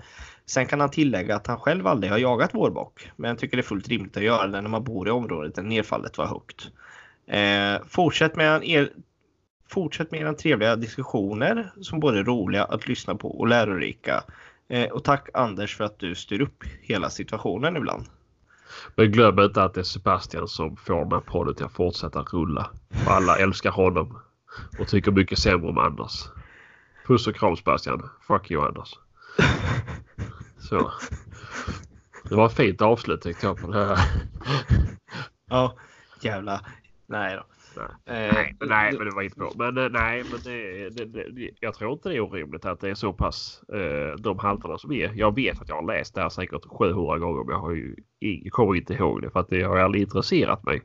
Speaker 1: sen kan han tillägga att han själv aldrig har jagat vårbock. Men jag tycker det är fullt rimligt att göra det när man bor i området där nedfallet var högt. Eh, fortsätt, med er, fortsätt med era trevliga diskussioner som både är roliga att lyssna på och lärorika. Eh, och tack Anders för att du styr upp hela situationen ibland.
Speaker 2: Men glöm inte att det är Sebastian som får den här podden till att fortsätta rulla. Och alla älskar honom. Och tycker mycket sämre om Anders. Puss och kram Sebastian. Fuck you Anders. Så. Det var ett fint avslut tyckte jag på det här.
Speaker 1: Ja, jävla... Nej då. Eh,
Speaker 2: Nej, men nej, men det var inte bra. Men eh, nej, men det, det, det, jag tror inte det är orimligt att det är så pass eh, de halterna som är. Jag vet att jag har läst det här säkert 700 gånger, men jag har ju, ing- kommer inte ihåg det för att det har aldrig intresserat mig.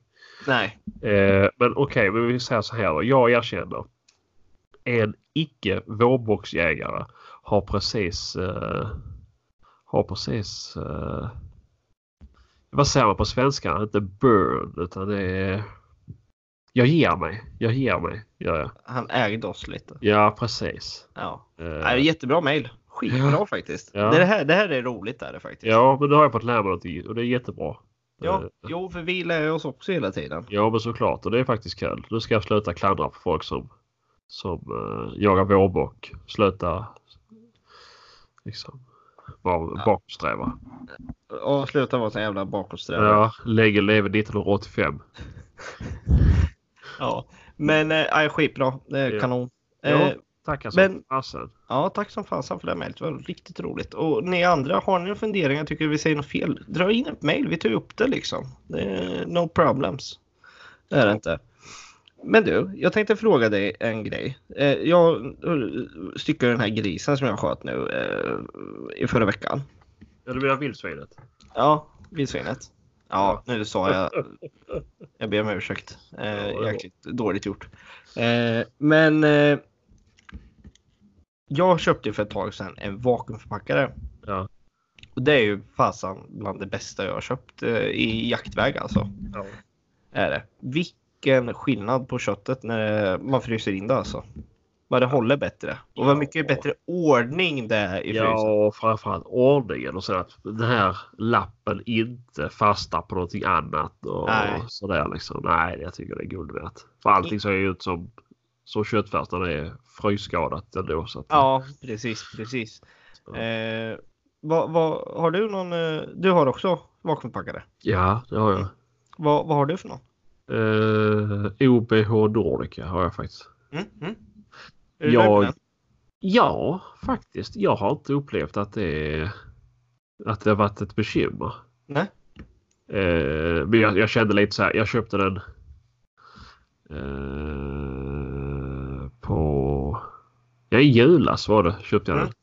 Speaker 1: Nej.
Speaker 2: Eh, men okej, men vi säger så här då. Jag erkänner. En icke vårboxjägare har precis... Eh, har precis... Eh, vad säger man på svenska? Inte burn utan det är... Jag ger mig. Jag ger mig. gör jag.
Speaker 1: Han ägde oss lite.
Speaker 2: Ja, precis.
Speaker 1: Ja.
Speaker 2: Eh,
Speaker 1: Nej, jättebra mejl. Skitbra faktiskt.
Speaker 2: Ja.
Speaker 1: Det, här, det här är roligt där faktiskt.
Speaker 2: ja, men nu har jag fått lära mig någonting och det är jättebra. Eh,
Speaker 1: Ja, jo, för vi lär oss också hela tiden.
Speaker 2: Ja, men såklart. Och det är faktiskt kul. Nu ska jag sluta klandra på folk som, som eh, jagar vårbock. Sluta liksom vara bakåtsträvare.
Speaker 1: Och sluta vara så jävla bakåtsträvare.
Speaker 2: Ja, länge leve 1985.
Speaker 1: Ja. Men eh, aj, skitbra. Det är
Speaker 2: Ja.
Speaker 1: kanon.
Speaker 2: Ja,
Speaker 1: Eh,
Speaker 2: tackar så
Speaker 1: men-
Speaker 2: fasen.
Speaker 1: ja, tack som fasen för det här mejlet. Det var riktigt roligt. Och ni andra, har ni några funderingar, tycker vi säger något fel, dra in ett mejl. Vi tar upp det liksom. Det är no problems. Det är det inte. Men du, jag tänkte fråga dig en grej. Eh, Jag eh, styckade den här grisen som jag sköt nu eh, i förra veckan.
Speaker 2: Ja, du menar vildsvinet?
Speaker 1: Ja, vildsvinet. Ja, nu sa jag... Jag ber om ursäkt.
Speaker 2: det
Speaker 1: Eh,
Speaker 2: var-
Speaker 1: jäkligt dåligt gjort. Eh, men... Eh, jag köpte ju för ett tag sedan en vakuumförpackare.
Speaker 2: Ja.
Speaker 1: Och det är ju fasan bland det bästa jag har köpt eh, i jaktväg alltså.
Speaker 2: ja.
Speaker 1: Är det. Vilken skillnad på köttet när man fryser in det alltså. Vad det håller bättre. Och vad mycket
Speaker 2: Ja.
Speaker 1: bättre ordning det är i frysen.
Speaker 2: Ja, och framförallt ordningen och så att den här lappen inte fastnar på någonting annat och
Speaker 1: Nej.
Speaker 2: sådär liksom. Nej, jag tycker det är guld värt. För allting ser ju ut som så köttfärs när det är frysskadat ändå. Så att,
Speaker 1: Ja, precis, precis.
Speaker 2: Ja.
Speaker 1: Eh, vad, vad, har du någon, eh, du har också vakuumpackare.
Speaker 2: ja, det har jag.
Speaker 1: Vad, vad har du för någon?
Speaker 2: Eh, OBH Nordica har jag faktiskt.
Speaker 1: Mm, mm. Är du nöjd med
Speaker 2: Jag,
Speaker 1: den?
Speaker 2: ja, faktiskt. Jag har inte upplevt att det, är- att det har varit ett bekymmer.
Speaker 1: Nej.
Speaker 2: Eh, men jag, jag kände lite så här. Jag köpte den. Eh, på. Ja, i julas var det. Köpte jag
Speaker 1: Mm.
Speaker 2: den.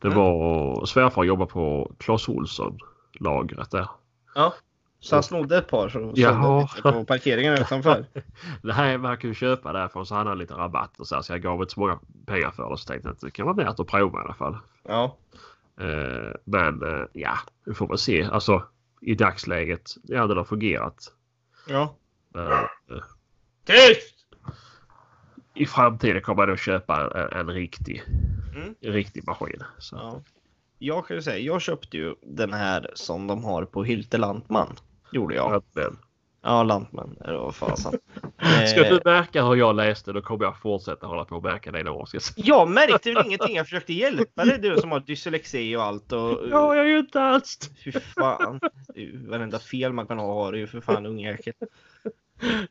Speaker 2: Det
Speaker 1: Mm.
Speaker 2: var svärfar jobbar på Clas Ohlson lagret där.
Speaker 1: Så han snodde ett par som
Speaker 2: Jaha.
Speaker 1: stod på parkeringen utanför.
Speaker 2: Det här man kan ju köpa därifrån så han hade lite rabatt och så, här, så jag gav inte så många pengar för det så tänkte jag att det kan vara värt att prova i alla fall.
Speaker 1: Ja,
Speaker 2: Eh, men eh, ja, vi får väl se. Alltså i dagsläget, det hade nog fungerat.
Speaker 1: ja.
Speaker 2: Men,
Speaker 1: Tyst!
Speaker 2: I framtiden kommer jag då köpa en, en riktig,
Speaker 1: Mm.
Speaker 2: en riktig maskin. Så.
Speaker 1: Ja. Jag kan ju säga, jag köpte ju den här som de har på Hylte Lantman. Gjorde jag.
Speaker 2: Men,
Speaker 1: Ja, Lantman. eller vad fasen.
Speaker 2: ska
Speaker 1: Eh,
Speaker 2: du märka hur jag läste då kommer jag fortsätta hålla på och märka dina åsikter.
Speaker 1: Jag märkte väl ingenting. Jag försökte hjälpa dig du som har dyslexi och allt. Och,
Speaker 2: Ja, jag är ju inte alls.
Speaker 1: Fy fan. Det är ju Varenda fel man kan ha har du ju för fan ungjäkel.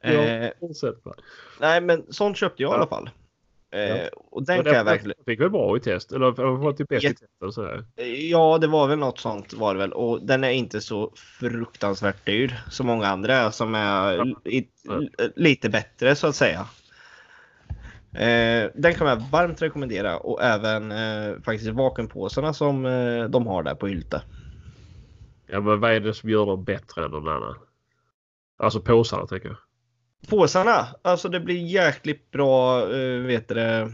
Speaker 2: Ja.
Speaker 1: Eh,
Speaker 2: Fortsätt bara.
Speaker 1: nej men sånt köpte jag i alla fall. Eh, och den
Speaker 2: Men
Speaker 1: kan jag
Speaker 2: den
Speaker 1: verkligen...
Speaker 2: Fick väl bra i test? Eller den var typ bäst i
Speaker 1: Jätte-
Speaker 2: testen. Så här.
Speaker 1: Ja, det var väl något sånt var det väl. Och den är inte så fruktansvärt dyr som många andra som är l- i, l- lite bättre så att säga. Eh, den kan jag varmt rekommendera och även eh, faktiskt vakuumpåsarna som eh, de har där på Ylte.
Speaker 2: Ja, men vad är det som gör dem bättre än någon annan? Alltså påsarna tänker jag.
Speaker 1: Påsarna, alltså det blir jäkligt bra, eh, vet du det,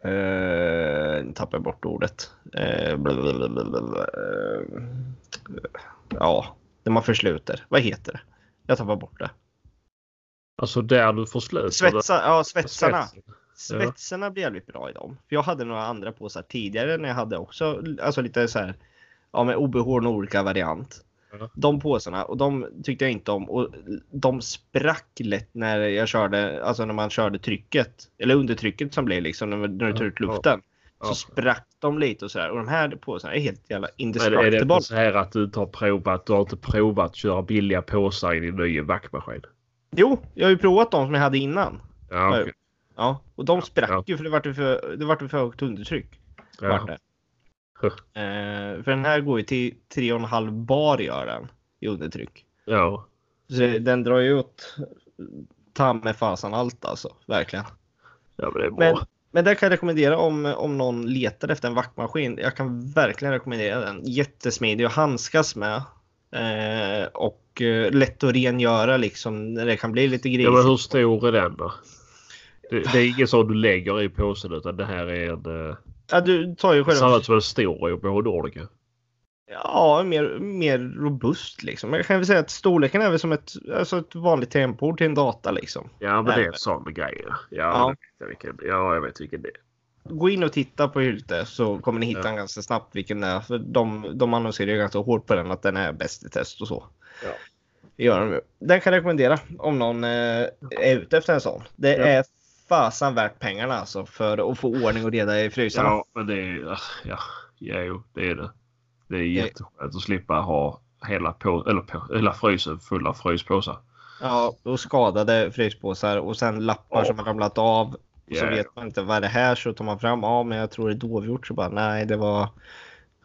Speaker 1: eh, nu tappar jag bort ordet. Eh, blablabla, eh, ja, när man försluter. Vad heter det? Jag tappar bort det.
Speaker 2: Alltså där du får slut.
Speaker 1: Svetsa, ja, svetsarna.
Speaker 2: Svetsen.
Speaker 1: Svetsarna blir jävligt bra i dem. För jag hade några andra påsar tidigare när jag hade också, alltså lite så här, ja med OBH och olika variant.
Speaker 2: Ja.
Speaker 1: De påsarna, och de tyckte jag inte om. Och de sprack lätt när jag körde, alltså när man körde trycket. Eller under trycket som blev liksom, när när du tar ut
Speaker 2: Ja.
Speaker 1: luften. Så
Speaker 2: Ja.
Speaker 1: sprack de lite och sådär. Och de här påsarna är helt jävla
Speaker 2: Men är det
Speaker 1: indestructible.
Speaker 2: inte så här att du inte har provat, du har inte provat att köra billiga påsar i din nya vaktmaskin?
Speaker 1: Jo, jag har ju provat de som jag hade innan.
Speaker 2: Ja, okej.
Speaker 1: Ja, och de sprack
Speaker 2: Ja.
Speaker 1: ju för det vart ju för, det vart ju för högt undertryck. vart
Speaker 2: ja.
Speaker 1: det. Eh, för den här går ju till 3,5 bar gör den i undertryck.
Speaker 2: ja.
Speaker 1: Så den drar ju ut ta med fasen allt alltså, verkligen.
Speaker 2: ja men det är bra.
Speaker 1: Men, men den kan jag rekommendera om, om någon letar efter en vaktmaskin. Jag kan verkligen rekommendera den. Jättesmidig att handskas med. Eh, och eh, lätt att rengöra liksom när det kan bli lite grisigt.
Speaker 2: ja, men hur stor är den då? Det, det är ingen sån du lägger i påsen utan det här är en... eh,
Speaker 1: ja, du tar ju
Speaker 2: Det ser
Speaker 1: själva...
Speaker 2: ut som en stor OBH-Nordica.
Speaker 1: Ja, mer, mer robust liksom. Jag kan väl säga att storleken är väl som ett, alltså ett vanligt tempord till en data liksom.
Speaker 2: Ja men
Speaker 1: Nej,
Speaker 2: det är en
Speaker 1: men-
Speaker 2: sån grej. Ja,
Speaker 1: Ja.
Speaker 2: Jag, vet jag vilken, ja jag vet vilken det är.
Speaker 1: Gå in och titta på Hylte så kommer ni hitta
Speaker 2: Ja.
Speaker 1: den ganska snabbt vilken det är. För de, de annonserar ju ganska hårt på den att den är bäst i test och så.
Speaker 2: Ja.
Speaker 1: Det gör de ju. Den kan jag rekommendera om någon eh, är ute efter en sån. Det
Speaker 2: Ja.
Speaker 1: är fasan värt pengarna alltså för att få ordning och reda i frysarna.
Speaker 2: Ja men det är... Ja, ja jo, det är det. Det är
Speaker 1: Ja.
Speaker 2: jätteskönt att slippa ha hela, på, eller på, hela frysen full av fryspåsar.
Speaker 1: Ja, och skadade fryspåsar och sen lappar
Speaker 2: Ja.
Speaker 1: som har ramlat av. Och så
Speaker 2: Ja.
Speaker 1: vet man inte vad är det här så tar man fram, ja men jag tror det är dovhjort. Så bara nej det var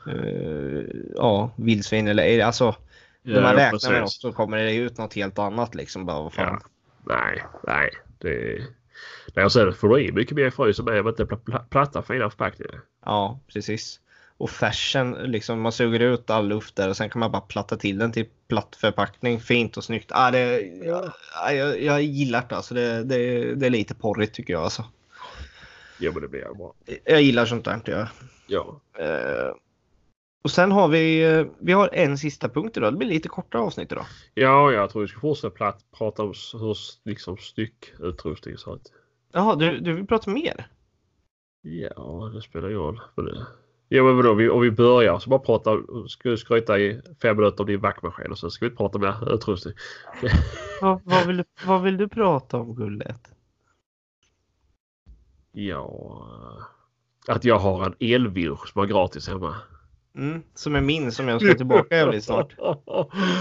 Speaker 1: eh, ja, vildsvin eller ej. Alltså när man
Speaker 2: Ja,
Speaker 1: räknar med
Speaker 2: precis.
Speaker 1: något så kommer det ut något helt annat liksom. Bara, vad fan.
Speaker 2: Nej, nej. Det... Nej, och sen får du i mycket mer frys som är med inte pl- pl- platta fina förpackningar.
Speaker 1: Ja, precis. Och färsen, liksom, man suger ut all luft där och sen kan man bara platta till den till platt förpackning. Fint och snyggt. Ah, det, ja. jag, jag gillar det alltså. Det, det, det är lite porrigt tycker jag alltså.
Speaker 2: Jo, men det blir bra.
Speaker 1: Jag gillar sånt där inte jag.
Speaker 2: Ja.
Speaker 1: Eh, och sen har vi, eh, vi har en sista punkt idag. Det blir lite kortare avsnitt idag.
Speaker 2: ja, jag tror vi ska fortsätta platt, prata om s- hur s- liksom, styckutrustning ser ut.
Speaker 1: Jaha, du, du vill prata mer?
Speaker 2: Ja, det spelar ju roll. Men det... Ja, men vadå, vi, om vi börjar så bara prata, ska du skryta i fem minuter om din vaktmaskin och sen ska vi inte prata mer utrustning.
Speaker 1: Vad, vad, vill, vad vill du prata om Gullet?
Speaker 2: Ja, att jag har en elvinsch som är gratis hemma.
Speaker 1: Mm, som är min som jag ska tillbaka jävligt snart.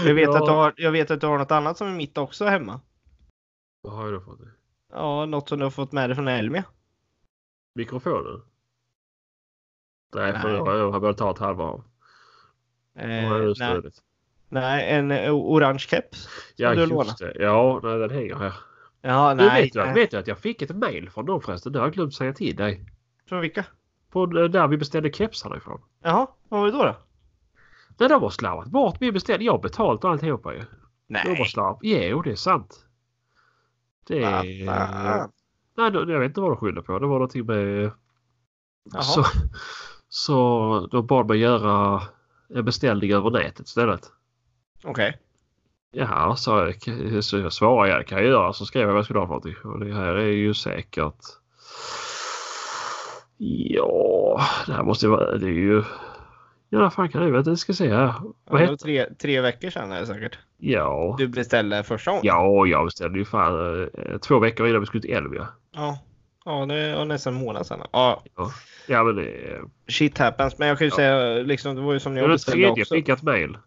Speaker 1: Jag vet,
Speaker 2: ja.
Speaker 1: att du har, jag vet att du har något annat som är mitt också hemma.
Speaker 2: Vad har jag då fått?
Speaker 1: Ja, något som du har fått med dig från Elmia.
Speaker 2: Mikrofonen? Nej, för
Speaker 1: Nej.
Speaker 2: jag har- jag har börjat ta ett halva av.
Speaker 1: Eh,
Speaker 2: Ja, just
Speaker 1: nej,
Speaker 2: det.
Speaker 1: nej, en eh, orange keps.
Speaker 2: Ja,
Speaker 1: du
Speaker 2: just
Speaker 1: lånat.
Speaker 2: det. Ja, nej, den hänger här.
Speaker 1: Ja,
Speaker 2: Du
Speaker 1: nej. eh.
Speaker 2: vet, du, vet du att jag fick ett mail från dem förresten? Det har jag glömt säga till dig.
Speaker 1: Från vilka?
Speaker 2: På det där vi beställde kepsarna ifrån.
Speaker 1: Jaha, vad var det då? då?
Speaker 2: Nej, de har slarvat bort min beställning. Jag har betalt och alltihopa ju. De har
Speaker 1: Nej,
Speaker 2: slarvat. Jo, det är sant. Det...
Speaker 1: vad fan.
Speaker 2: Nej, då- jag vet inte vad de skyller på. Det var någonting med...
Speaker 1: Jaha.
Speaker 2: Så, så de bad mig göra en beställning över nätet istället.
Speaker 1: Okej.
Speaker 2: Ja, så jag, så jag svarade jag kan jag göra. Så skrev jag vad jag skulle ha för någonting. Och det här är ju säkert... Ja, det här måste ju vara... Det är ju... Ja, vad fan kan det vara? Det ska jag se här.
Speaker 1: Ja,
Speaker 2: Vad
Speaker 1: det var
Speaker 2: heter...
Speaker 1: tre, tre veckor sedan är det säkert.
Speaker 2: Ja.
Speaker 1: Du beställde första gången?
Speaker 2: Ja, jag beställde ju fan eh, två veckor innan vi skulle till Elvia.
Speaker 1: Ja, ja det var nästan en månad sedan. Ja,
Speaker 2: Ja, men eh, det...
Speaker 1: shit happens. Men jag kan ju
Speaker 2: Ja.
Speaker 1: säga, liksom, det var ju som när jag
Speaker 2: Den
Speaker 1: beställde
Speaker 2: tredje
Speaker 1: också.
Speaker 2: fick jag ett mail.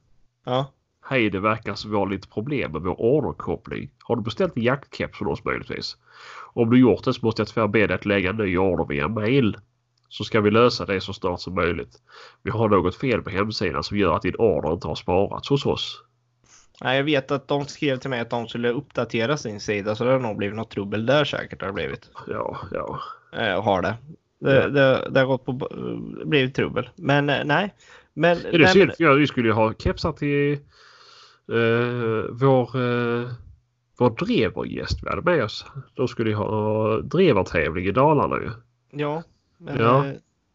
Speaker 1: Ja.
Speaker 2: Hej, det verkar som vi har lite problem med vår orderkoppling. Har du beställt en jaktkeps från oss möjligtvis? Om du gjort det så måste jag tyvärr be dig att lägga en ny order via mail. Så ska vi lösa det så snart som möjligt. Vi har något fel på hemsidan som gör att din order inte har sparats hos oss.
Speaker 1: Nej, jag vet att de skrev till mig att de skulle uppdatera sin sida så det har nog blivit något trubbel där säkert. Har det blivit.
Speaker 2: Ja, ja.
Speaker 1: Eh, har det. Det,
Speaker 2: Ja.
Speaker 1: det, det har gått på, blivit trubbel. Men eh, nej. Men,
Speaker 2: Är det
Speaker 1: nej,
Speaker 2: synd? Ja, vi skulle ju ha kepsar till eh, vår, eh, vår drevergäst vi hade med oss. De skulle ju ha drevertävling i Dalarna ju.
Speaker 1: men- ja, men
Speaker 2: Ja.
Speaker 1: eh,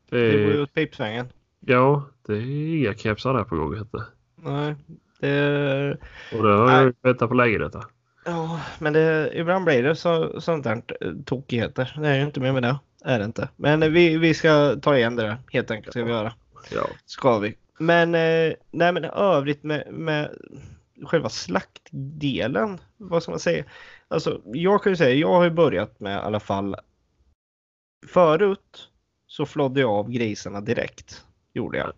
Speaker 1: det går ju
Speaker 2: Det,
Speaker 1: åt pipsvängen.
Speaker 2: ja, det är inga kepsar där på gång inte.
Speaker 1: Nej, det,
Speaker 2: Och det har jag
Speaker 1: Nej.
Speaker 2: väntat på länge detta.
Speaker 1: ja, men det, ibland blir det så, sånt där eh, tokigheter. Det är ju inte mer med det. Är det inte. Men eh, vi, vi ska ta igen det där helt enkelt. Ska vi göra.
Speaker 2: Ja.
Speaker 1: Ska vi. Men, eh, nej, men övrigt med, med själva slaktdelen. Vad ska man säga? Alltså, jag kan ju säga, jag har ju börjat med i alla fall. Förut så flådde jag av grisarna direkt. Gjorde jag.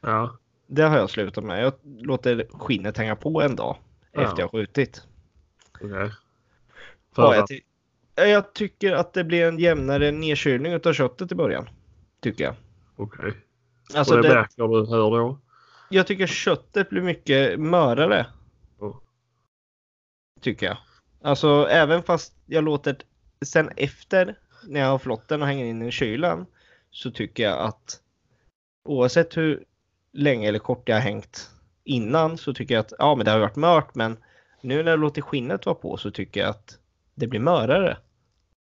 Speaker 2: ja.
Speaker 1: Det har jag slutat med. Jag låter skinnet hänga på en dag
Speaker 2: Ja.
Speaker 1: efter jag skjutit.
Speaker 2: Okej.
Speaker 1: Ja,
Speaker 2: För
Speaker 1: jag,
Speaker 2: att
Speaker 1: ty- Ja, jag tycker att det blir en jämnare nedkylning av köttet i början. Tycker jag.
Speaker 2: Okej.
Speaker 1: Alltså
Speaker 2: och det,
Speaker 1: det-
Speaker 2: märker du hur då?
Speaker 1: Jag tycker köttet blir mycket mörare.
Speaker 2: Ja.
Speaker 1: Tycker jag. Alltså även fast jag låter sen efter när jag har flått den och hänger in den i kylen så tycker jag att oavsett hur länge eller kort jag har hängt innan så tycker jag att ja men det har varit mört men nu när jag låter skinnet vara på så tycker jag att det blir mörare.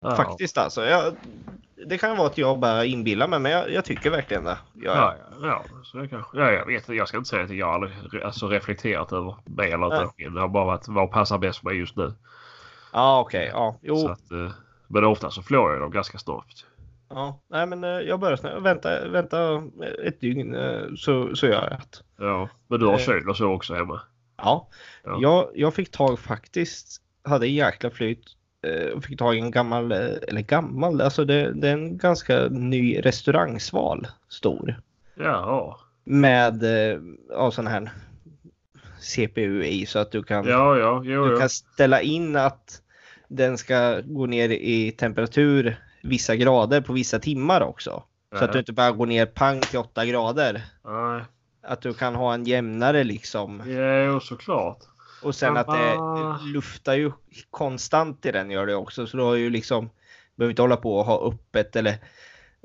Speaker 2: Ja.
Speaker 1: Faktiskt alltså. Jag, det kan vara att jag bara inbillar mig men jag, jag tycker verkligen det. Jag,
Speaker 2: Ja, ja, ja, så det kanske. Ja, jag vet Jag ska inte säga att jag aldrig re- alltså, reflekterat över mig eller
Speaker 1: Nej.
Speaker 2: att det har bara varit vad passar bäst för mig just nu.
Speaker 1: Ja okej, ja. Jo.
Speaker 2: Så att, eh, men ofta så flår jag dem ganska snabbt.
Speaker 1: Ja, nej men eh, jag börjar snart. Vänta, vänta ett dygn eh, så, så gör jag det.
Speaker 2: Ja, men du har
Speaker 1: Eh.
Speaker 2: kyl och så också hemma?
Speaker 1: Ja,
Speaker 2: Ja.
Speaker 1: Jag, jag fick tag faktiskt, hade en jäkla flyt. eh, och Fick tag i en gammal, eh, eller gammal, alltså det, det är en ganska ny restaurangsval. Stor.
Speaker 2: Ja,
Speaker 1: Med eh, ja, sån här CPU i så att du kan,
Speaker 2: ja, ja, jo,
Speaker 1: du
Speaker 2: jo.
Speaker 1: kan ställa in att den ska gå ner i temperatur vissa grader på vissa timmar också. Så att du
Speaker 2: Nej,
Speaker 1: inte bara går ner pang till 8 grader.
Speaker 2: Nej,
Speaker 1: Att du kan ha en jämnare liksom.
Speaker 2: jo, såklart.
Speaker 1: Och sen att det
Speaker 2: Ah.
Speaker 1: luftar ju konstant i den gör det också. Så du har ju liksom, behöver inte hålla på och ha öppet eller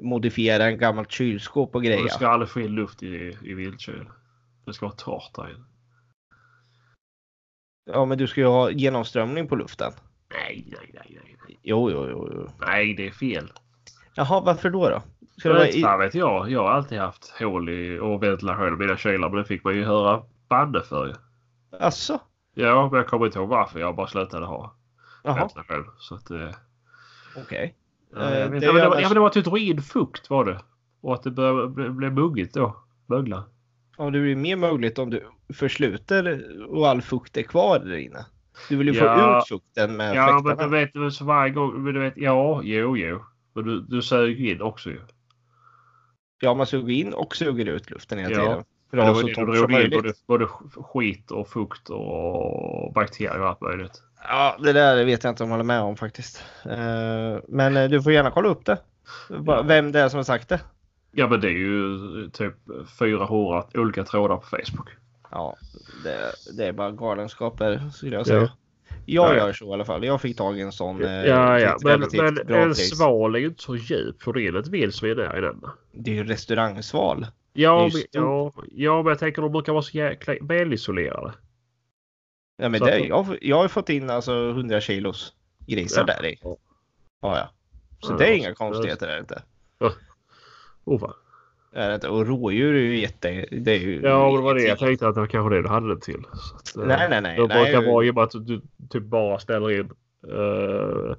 Speaker 1: modifiera en gammalt kylskåp och
Speaker 2: Och
Speaker 1: grejer.
Speaker 2: det ska aldrig få in luft i, i vildkyl. Det ska vara torrt där inne.
Speaker 1: Ja men du ska ju ha genomströmning på luften.
Speaker 2: Nej, nej, nej, nej. nej.
Speaker 1: Jo, jo, jo. jo.
Speaker 2: Nej, det är fel.
Speaker 1: Jaha, varför då då? Ska det
Speaker 2: Jag
Speaker 1: vara
Speaker 2: vet,
Speaker 1: i...
Speaker 2: fan vet jag. Jag har alltid haft hål i, och ventilation i mina kylar men det fick man ju höra banne för ju.
Speaker 1: Asså?
Speaker 2: Ja, men jag kommer inte ihåg varför. Jag bara slutade ha
Speaker 1: Jaha,
Speaker 2: ventilation. Så att, eh, ja,
Speaker 1: okej.
Speaker 2: jag
Speaker 1: det
Speaker 2: vet. ja, men Eh, det, var,
Speaker 1: gör-
Speaker 2: ja, men det var att du drog in fukt var det. Och att det började bli, bli muggigt då. Mögla.
Speaker 1: Ja, det blir mer möjligt om du försluter och all fukt är kvar där inne. Du vill ju få
Speaker 2: Ja.
Speaker 1: ut fukten med
Speaker 2: Ja, men
Speaker 1: fläktarna.
Speaker 2: du vet, men så varje gång. Men du vet, ja, jo, jo. Men du, du sög ju in också ju.
Speaker 1: Ja, man suger in och suger ut luften hela
Speaker 2: Ja.
Speaker 1: tiden. För
Speaker 2: Men
Speaker 1: att ha
Speaker 2: det var
Speaker 1: så
Speaker 2: ju det
Speaker 1: torrt
Speaker 2: du
Speaker 1: som
Speaker 2: drog in
Speaker 1: möjligt.
Speaker 2: både, både skit och fukt och bakterier och allt möjligt.
Speaker 1: Ja, det där vet jag inte om jag håller med om faktiskt. Eh, Men eh, du får gärna kolla upp det. Bara
Speaker 2: Ja.
Speaker 1: Vem det är som har sagt det.
Speaker 2: Ja, men det är ju typ 400 olika trådar på Facebook.
Speaker 1: Ja, det, det är bara galenskaper skulle jag
Speaker 2: Ja.
Speaker 1: säga. Jag
Speaker 2: Ja, ja.
Speaker 1: gör så i alla fall. Jag fick tag i en sån eh,
Speaker 2: Ja, ja,
Speaker 1: till ett
Speaker 2: men,
Speaker 1: relativt
Speaker 2: men
Speaker 1: bra
Speaker 2: en
Speaker 1: pris.
Speaker 2: sval är ju inte så djup. För det är ett vildsvin där i den.
Speaker 1: Det är ju restaurangsval.
Speaker 2: Ja,
Speaker 1: Det är
Speaker 2: men,
Speaker 1: ju
Speaker 2: ja, ja, men jag tänker de brukar vara så jäkla välisolerade.
Speaker 1: Ja, men
Speaker 2: Så
Speaker 1: det,
Speaker 2: att-
Speaker 1: jag, jag har ju fått in alltså 100 kilos grisar
Speaker 2: Ja.
Speaker 1: där i. Ja,
Speaker 2: Ja.
Speaker 1: ja. Så
Speaker 2: Ja,
Speaker 1: det är
Speaker 2: det-
Speaker 1: inga konstigheter är det inte.
Speaker 2: Oh, fan.
Speaker 1: Det Är det inte. Och rådjur är ju jätte... Det är ju
Speaker 2: Ja, men det var det jag tänkte att det var kanske det du hade det till. Så att, eh,
Speaker 1: Nej, nej, nej.
Speaker 2: De
Speaker 1: nej,
Speaker 2: brukar vara i och med att du typ bara ställer in uh,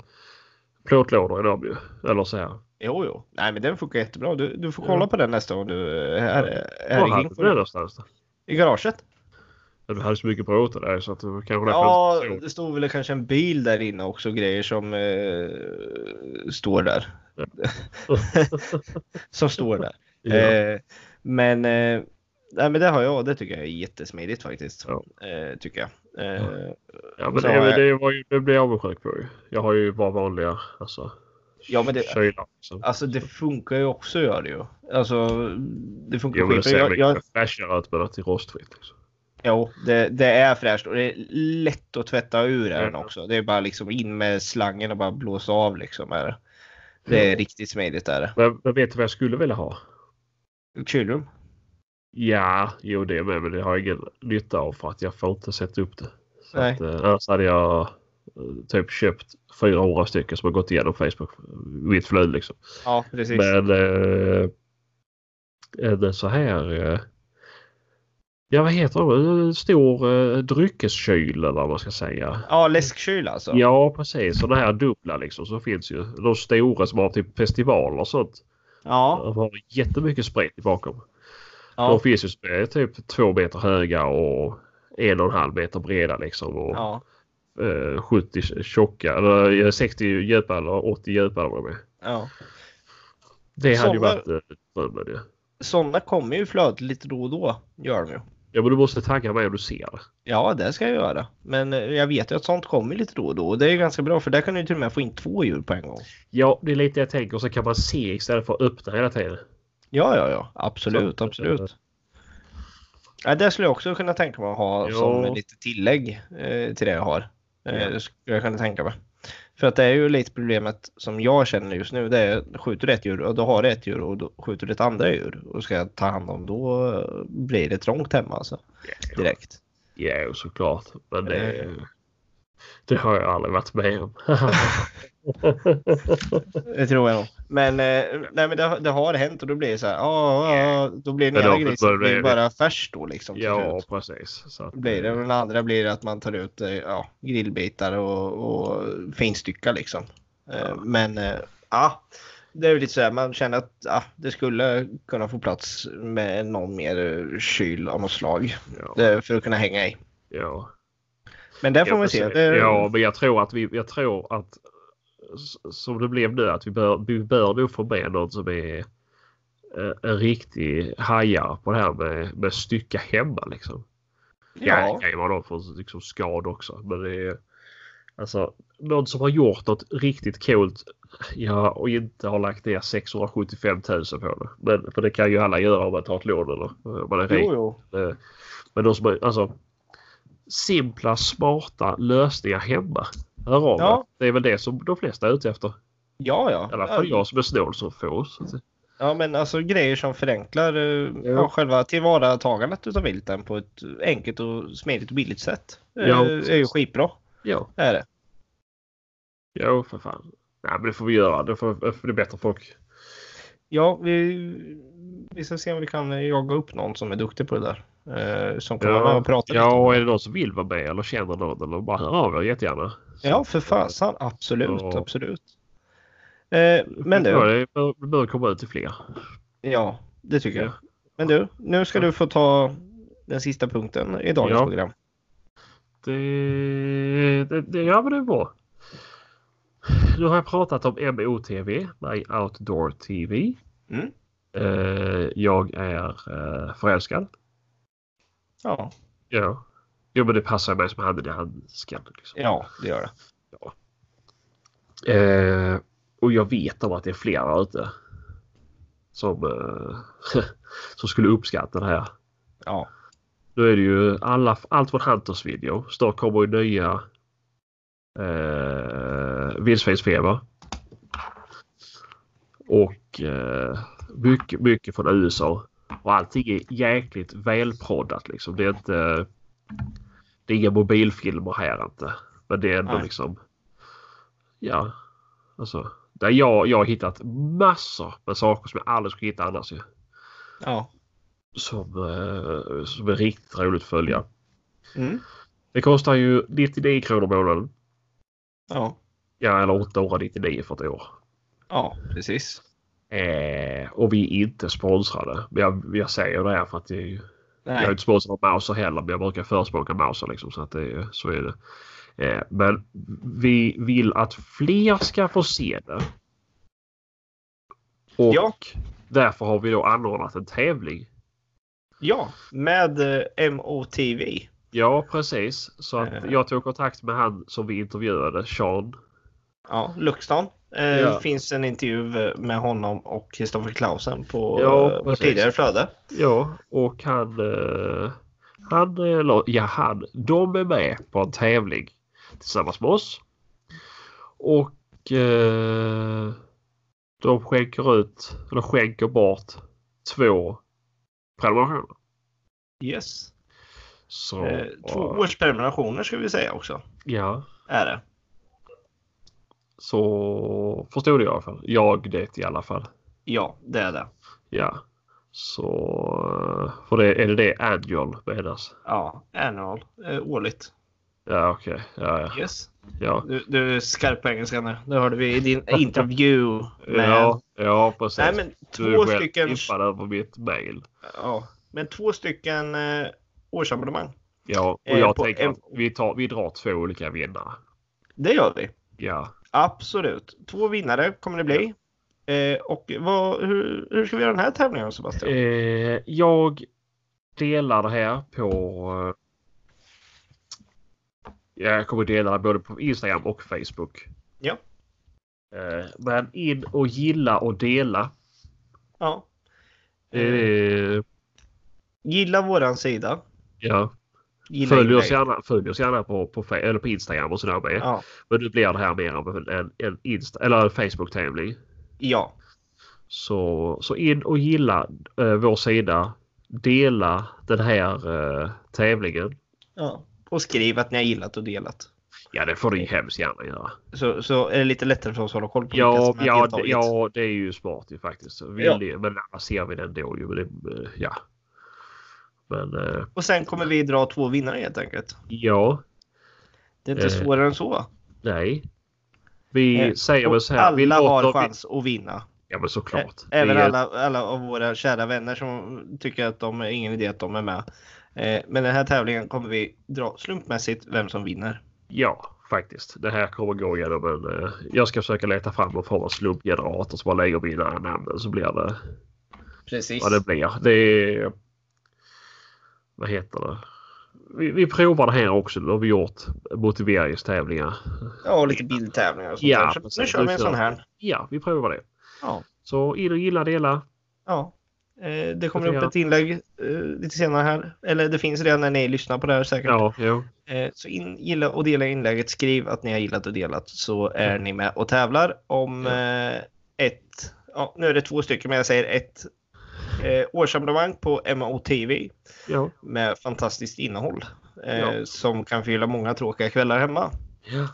Speaker 2: plåtlådor i dem ju. Eller så här.
Speaker 1: Jo, jo. Nej, men den funkar jättebra. Du, du får kolla
Speaker 2: Ja.
Speaker 1: på den nästa gång du är här. är
Speaker 2: Var
Speaker 1: i
Speaker 2: hade
Speaker 1: Gingfors.
Speaker 2: du det någonstans? då?
Speaker 1: I garaget?
Speaker 2: Du hade så mycket bråte där så att det var kanske därför
Speaker 1: Ja,
Speaker 2: jag inte
Speaker 1: det stod väl kanske en bil där inne också. Grejer som eh, står där. som står där.
Speaker 2: förstod. Ja.
Speaker 1: Eh, men eh, Nej, men det har jag och det tycker jag är jättesmidigt faktiskt.
Speaker 2: Ja.
Speaker 1: Eh, tycker jag. Eh,
Speaker 2: Ja, men
Speaker 1: Så
Speaker 2: det,
Speaker 1: är-
Speaker 2: det, var ju, det blir jag avundsjuk på ju. Jag har ju bara vanliga alltså,
Speaker 1: Ja, men det-
Speaker 2: kylar. Liksom.
Speaker 1: Alltså det funkar ju också gör det ju. Alltså det funkar
Speaker 2: Jo, men det
Speaker 1: skitbra.
Speaker 2: ser
Speaker 1: Jag,
Speaker 2: väl
Speaker 1: jag,
Speaker 2: lite fräschare ut men att det är rostfritt. Liksom.
Speaker 1: jo, det, det är fräscht och det är lätt att tvätta ur den
Speaker 2: Ja.
Speaker 1: också. Det är bara liksom in med slangen och bara blåsa av liksom. Är det. det
Speaker 2: Mm.
Speaker 1: är riktigt smidigt är det.
Speaker 2: Men, men vet du vad jag skulle vilja ha?
Speaker 1: Kylrum?
Speaker 2: Ja, jo det är med men det har jag ingen nytta av för att jag får inte sätta upp det. Så
Speaker 1: Nej.
Speaker 2: Att, eh, annars hade jag eh, typ köpt 400 stycken som har gått igenom Facebook i mitt flöde liksom.
Speaker 1: Ja, precis.
Speaker 2: Men eh, en så här... Eh, ja, vad heter det? En stor eh, dryckeskyl eller vad man ska säga.
Speaker 1: Ja, läskkyl alltså.
Speaker 2: Ja, precis. Sådana här dubbla liksom som finns ju. De stora som har typ festivaler och sånt.
Speaker 1: ja.
Speaker 2: De har jättemycket sprit bakom. De
Speaker 1: ja.
Speaker 2: finns ju som är typ två meter höga och en och en halv meter breda liksom. Och
Speaker 1: ja.
Speaker 2: eh, 70 tjocka, eller eh, 60 djupa eller 80 djupa eller vad de är.
Speaker 1: ja.
Speaker 2: Det hade ju
Speaker 1: Sådana-
Speaker 2: varit eh, drömmen ju.
Speaker 1: Sådana kommer ju flödet lite då och då. Gör de ju.
Speaker 2: Ja men du måste tagga mig om du ser det.
Speaker 1: Ja, det ska jag göra. Men eh, jag vet ju att sånt kommer lite då och då. Och det är ju ganska bra för där kan du ju till och med få in två djur på en gång.
Speaker 2: Ja det är lite jag tänker. Så kan man se istället för att öppna hela tiden.
Speaker 1: Ja, ja, ja. Absolut,
Speaker 2: Så- eh,
Speaker 1: absolut. Ja, det skulle jag också kunna tänka mig att ha
Speaker 2: Ja.
Speaker 1: som lite tillägg eh, till det jag har. Eh,
Speaker 2: Ja.
Speaker 1: det skulle jag kunna tänka mig. För att det är ju lite problemet som jag känner just nu. Det är skjuter du ett djur och då har du ett djur och då skjuter du ett andra djur och ska ta hand om då eh, blir det trångt hemma alltså. Direkt.
Speaker 2: Ja såklart. Men det,
Speaker 1: Eh.
Speaker 2: det har jag aldrig varit med om.
Speaker 1: Det tror jag nog. Men, eh, nej, men det, det har hänt och då blir det så här. ja, ja, då blir den
Speaker 2: Men
Speaker 1: ena
Speaker 2: då
Speaker 1: grisen
Speaker 2: börjar
Speaker 1: blir
Speaker 2: det-
Speaker 1: bara färs då liksom. till slut.
Speaker 2: ja precis. Så att, eh,
Speaker 1: blir det. Och den andra blir att man tar ut eh, ja, grillbitar och, och finstyckar liksom. Eh,
Speaker 2: Ja.
Speaker 1: Men eh, ja, det är väl lite så här, man känner att ja, det skulle kunna få plats med någon mer eh, kyl av något slag
Speaker 2: Ja,
Speaker 1: eh, för att kunna hänga i.
Speaker 2: ja.
Speaker 1: Men det får
Speaker 2: Ja,
Speaker 1: man se.
Speaker 2: precis.
Speaker 1: Det,
Speaker 2: Ja, men jag tror att vi, jag tror att s- som det blev nu att vi bör, vi bör nog få med någon som är eh, en riktig hajare på det här med, med stycka hemma liksom. Ja.
Speaker 1: ja,
Speaker 2: det kan ju vara någon från liksom, skad också. Men det är alltså någon som har gjort något riktigt coolt ja, och inte har lagt ner 675 000 på det. Men, för det kan ju alla göra om man tar ett lån eller om man är rik.
Speaker 1: jo, jo.
Speaker 2: Eh, Men de som är, alltså simpla, smarta lösningar hemma. Hör av
Speaker 1: Ja.
Speaker 2: er. Det är väl det som de flesta är ute efter.
Speaker 1: Ja,
Speaker 2: I alla fall
Speaker 1: ja.
Speaker 2: jag som är snål som får. Så att,
Speaker 1: ja, men alltså grejer som förenklar eh,
Speaker 2: Ja.
Speaker 1: ja, själva tillvaratagandet utav vilten på ett enkelt och smidigt och billigt sätt. eh,
Speaker 2: Ja,
Speaker 1: är ju
Speaker 2: precis.
Speaker 1: skitbra.
Speaker 2: ja,
Speaker 1: Det är det.
Speaker 2: ja för fan. Nej, men det får vi göra. Det får, det får bli bättre folk.
Speaker 1: Ja, vi, vi ska se om vi kan jaga upp någon som är duktig på det där. Eh, som kommer ja. och prata
Speaker 2: ja,
Speaker 1: lite.
Speaker 2: och är det någon som vill vara med eller känner någon eller bara hör av er jättegärna.
Speaker 1: Ja, för fasen. Absolut,
Speaker 2: Ja.
Speaker 1: absolut. Eh, men
Speaker 2: Ja,
Speaker 1: du,
Speaker 2: Det bör, det bör komma ut till fler.
Speaker 1: ja, det tycker jag.
Speaker 2: Ja.
Speaker 1: Men du, nu ska du få ta den sista punkten i dagens
Speaker 2: Ja.
Speaker 1: program.
Speaker 2: Det, det, det, ja, men det är bra. Nu har jag pratat om MOTV, My Outdoor TV.
Speaker 1: Mm.
Speaker 2: Eh, jag är eh, förälskad.
Speaker 1: Ja,
Speaker 2: Ja. Jo, men det passar mig som handen i handsken. Liksom.
Speaker 1: ja, det gör det.
Speaker 2: Eh, och jag vet om att det är flera där ute som, eh, som skulle uppskatta det här.
Speaker 1: Ja,
Speaker 2: Nu är det ju alla, allt från Hunters video. Snart kommer ju nya eh, vildsvinsfeber. Och eh, mycket, mycket från USA. Och allting är jäkligt välproddat liksom. Det är inte... Det är inga mobilfilmer här inte. Men det är ändå
Speaker 1: Nej.
Speaker 2: liksom... Ja. Alltså. Där jag, jag har hittat massor med saker som jag aldrig skulle hitta annars ju
Speaker 1: ja.
Speaker 2: som, eh, som är riktigt roligt att följa.
Speaker 1: Mm.
Speaker 2: Det kostar ju 99 kronor i månaden.
Speaker 1: ja,
Speaker 2: Ja, eller 899 för ett år.
Speaker 1: ja, precis.
Speaker 2: Eh, och vi är inte sponsrade. Men jag, jag säger det här för att det är ju, jag är
Speaker 1: Nej.
Speaker 2: inte sponsrad av Mauser heller. Men jag brukar förespråka Mauser liksom. Så, att det är, ju- så är det. Eh, men vi vill att fler ska få se det. Och
Speaker 1: Ja.
Speaker 2: därför har vi då anordnat en tävling.
Speaker 1: Ja, med eh, MOTV.
Speaker 2: Ja, precis. Så att
Speaker 1: Eh.
Speaker 2: jag tog kontakt med han som vi intervjuade, Sean.
Speaker 1: Ja, Luxton. Eh,
Speaker 2: Ja.
Speaker 1: finns en intervju eh, med honom och Kristoffer Clausen på
Speaker 2: Ja,
Speaker 1: eh, vårt
Speaker 2: precis.
Speaker 1: tidigare flöde.
Speaker 2: Ja, och han... eh, Han, eh, la- ja han, de är med på en tävling tillsammans med oss. Och eh, de skänker ut, eller skänker bort två prenumerationer.
Speaker 1: Yes.
Speaker 2: Så,
Speaker 1: Eh, två års prenumerationer ska vi säga också.
Speaker 2: Ja,
Speaker 1: Är det.
Speaker 2: så förstod jag i alla fall. Jag det i alla fall.
Speaker 1: Ja, det är det.
Speaker 2: Ja. Så, eh, för det, är det det annual menas?
Speaker 1: Ja, annual. Eh, årligt.
Speaker 2: Ja, okej. Ja, ja,
Speaker 1: Yes.
Speaker 2: ja.
Speaker 1: Du, du är skarp på engelska nu. Det hörde vi i din intervju. Med...
Speaker 2: Ja, ja, precis.
Speaker 1: Nej, men
Speaker 2: Du är
Speaker 1: två
Speaker 2: själv
Speaker 1: stycken.
Speaker 2: impad över mitt mail.
Speaker 1: Ja, men två stycken eh, årsabonnemang.
Speaker 2: Ja, och
Speaker 1: Eh,
Speaker 2: jag
Speaker 1: på
Speaker 2: tänker
Speaker 1: en-
Speaker 2: att vi, tar, vi drar två olika vinnare.
Speaker 1: Det gör vi.
Speaker 2: Ja.
Speaker 1: Absolut. Två vinnare kommer det bli. Eh, och vad, hur, hur ska vi göra den här tävlingen Sebastian?
Speaker 2: Eh, jag delar det här på... eh, Jag kommer dela det både på Instagram och Facebook.
Speaker 1: Ja.
Speaker 2: Eh, men in och gilla och dela.
Speaker 1: Ja. Eh,
Speaker 2: Eh,
Speaker 1: gilla våran sida.
Speaker 2: ja.
Speaker 1: Gilla
Speaker 2: Följ oss
Speaker 1: inlägg.
Speaker 2: gärna, följ oss gärna på, på, Fe- eller på Instagram och sådär med.
Speaker 1: Ja.
Speaker 2: Men nu blir det här mer av en, en, en, Insta- eller en Facebook-tävling.
Speaker 1: ja.
Speaker 2: Så, så in och gilla eh, vår sida. Dela den här eh, tävlingen.
Speaker 1: ja. Och skriv att ni har gillat och delat.
Speaker 2: Ja, det får du ju hemskt gärna göra.
Speaker 1: Så, så är det lite lättare för oss att hålla koll på vilka som
Speaker 2: Ja,
Speaker 1: har
Speaker 2: ja, det,
Speaker 1: deltagit.
Speaker 2: ja, det är ju smart ju faktiskt. Vill
Speaker 1: Ja.
Speaker 2: ju, men annars ser vi den då ju. Men det, eh, ja. Men eh,
Speaker 1: Och sen kommer vi dra två vinnare helt enkelt.
Speaker 2: ja,
Speaker 1: Det är inte
Speaker 2: Eh,
Speaker 1: svårare än så.
Speaker 2: nej. Vi
Speaker 1: Eh,
Speaker 2: säger väl
Speaker 1: Och
Speaker 2: så här. vi
Speaker 1: alla har
Speaker 2: låter-
Speaker 1: chans att vinna.
Speaker 2: Ja, men såklart.
Speaker 1: Ä- Även
Speaker 2: Det är-
Speaker 1: alla, alla av våra kära vänner som tycker att de är ingen idé att de är med. Eh, Men den här tävlingen kommer vi dra slumpmässigt vem som vinner.
Speaker 2: Ja, faktiskt. Det här kommer gå igenom en... eh, Jag ska försöka leta fram en form av slumpgenerator som bara lägger mina namn så blir det
Speaker 1: Precis.
Speaker 2: vad det blir. Det är... Vad heter det? Vi, vi provar det här också. Det har vi gjort motiveringstävlingar.
Speaker 1: Ja, och lite bildtävlingar och sånt
Speaker 2: Ja,
Speaker 1: där. Så nu
Speaker 2: precis.
Speaker 1: kör vi en
Speaker 2: Då kör
Speaker 1: sån här.
Speaker 2: Ja, vi provar det.
Speaker 1: Ja.
Speaker 2: Så in och gilla, dela.
Speaker 1: ja. Eh, Det kommer
Speaker 2: Det
Speaker 1: upp
Speaker 2: gör.
Speaker 1: ett inlägg eh, lite senare här. Eller det finns redan när ni lyssnar på det här säkert.
Speaker 2: Ja, jo.
Speaker 1: Eh, Så in, gilla och dela inlägget. Skriv att ni har gillat och delat så är ni med och tävlar om eh, ett, ja, nu är det två stycken men jag säger ett eh, årsabonnemang på MOTV
Speaker 2: Ja.
Speaker 1: med fantastiskt innehåll eh,
Speaker 2: Ja.
Speaker 1: som kan fylla många tråkiga kvällar hemma.
Speaker 2: Ja.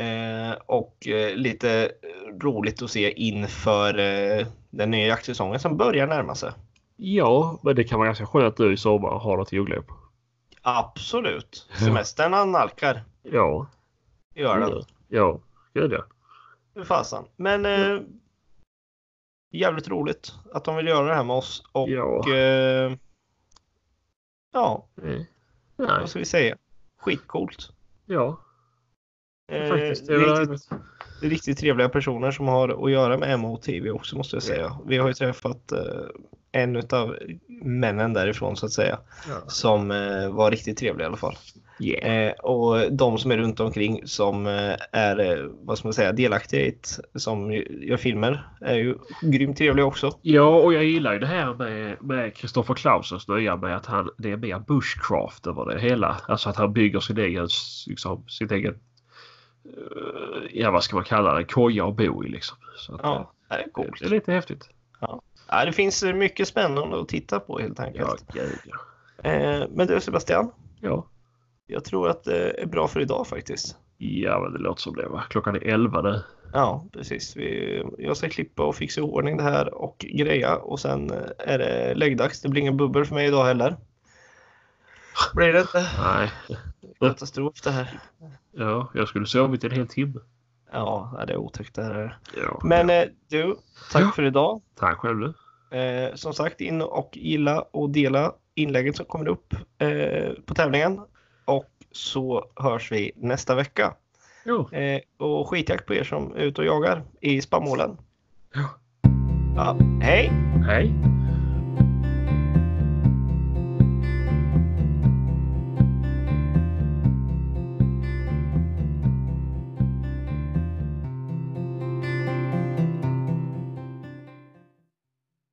Speaker 1: Eh, och eh, lite roligt att se inför eh, den nya jaktsäsongen som börjar närma sig.
Speaker 2: ja, men det kan vara ganska skönt nu i sommar att ha något julglopp.
Speaker 1: Absolut.
Speaker 2: Ja.
Speaker 1: Semestern analkar.
Speaker 2: Ja.
Speaker 1: Gör den.
Speaker 2: Ja, gud ja.
Speaker 1: Hur fasen. Men eh, jävligt roligt att de vill göra det här med oss. Och
Speaker 2: Ja.
Speaker 1: eh, ja,
Speaker 2: Nej. Eh, Nej.
Speaker 1: vad ska vi säga? Skitcoolt.
Speaker 2: Ja,
Speaker 1: Eh,
Speaker 2: faktiskt. Det är väl
Speaker 1: riktigt, riktigt trevliga personer som har att göra med MOTV också måste jag säga. Vi har ju träffat eh, en av männen därifrån så att säga.
Speaker 2: Ja.
Speaker 1: Som eh, var riktigt trevlig i alla fall.
Speaker 2: Yeah.
Speaker 1: Eh, och de som är runt omkring som eh, är, eh, vad ska man säga, delaktiga i ett, som ju- gör filmer är ju grymt trevliga också.
Speaker 2: Ja, och jag gillar ju det här med, med Christopher Clausens nya med att han, det är mer bushcraft över det hela. Alltså att han bygger sin egen, liksom, sitt egen, eh, ja vad ska man kalla det, koja och bo i liksom. Så att,
Speaker 1: Ja, det är
Speaker 2: eh,
Speaker 1: coolt.
Speaker 2: det är lite häftigt.
Speaker 1: Ja, det finns eh, mycket spännande att titta på helt
Speaker 2: Ja,
Speaker 1: enkelt.
Speaker 2: gud ja.
Speaker 1: Eh, men du Sebastian,
Speaker 2: Ja.
Speaker 1: jag tror att det är bra för idag faktiskt.
Speaker 2: ja, men det låter som det va. Klockan är 11 nu.
Speaker 1: Ja, precis. Vi, jag ska klippa och fixa i ordning det här och greja och sen eh, är det läggdags. Det blir ingen bubbel för mig idag heller. Blir det inte?
Speaker 2: Nej.
Speaker 1: Katastrof det här.
Speaker 2: Ja, jag skulle sovit en hel timme.
Speaker 1: Ja, det är otäckt det här.
Speaker 2: Ja.
Speaker 1: Men eh, du, tack
Speaker 2: Ja.
Speaker 1: för idag.
Speaker 2: Tack själv du.
Speaker 1: Eh, som sagt, in och gilla och dela inlägget som kommer upp eh, på tävlingen. Och så hörs vi nästa vecka.
Speaker 2: Ja.
Speaker 1: Eh, och skitjakt på er som är ute och jagar i spannmålen.
Speaker 2: Ja.
Speaker 1: Ja, hej!
Speaker 2: Hej.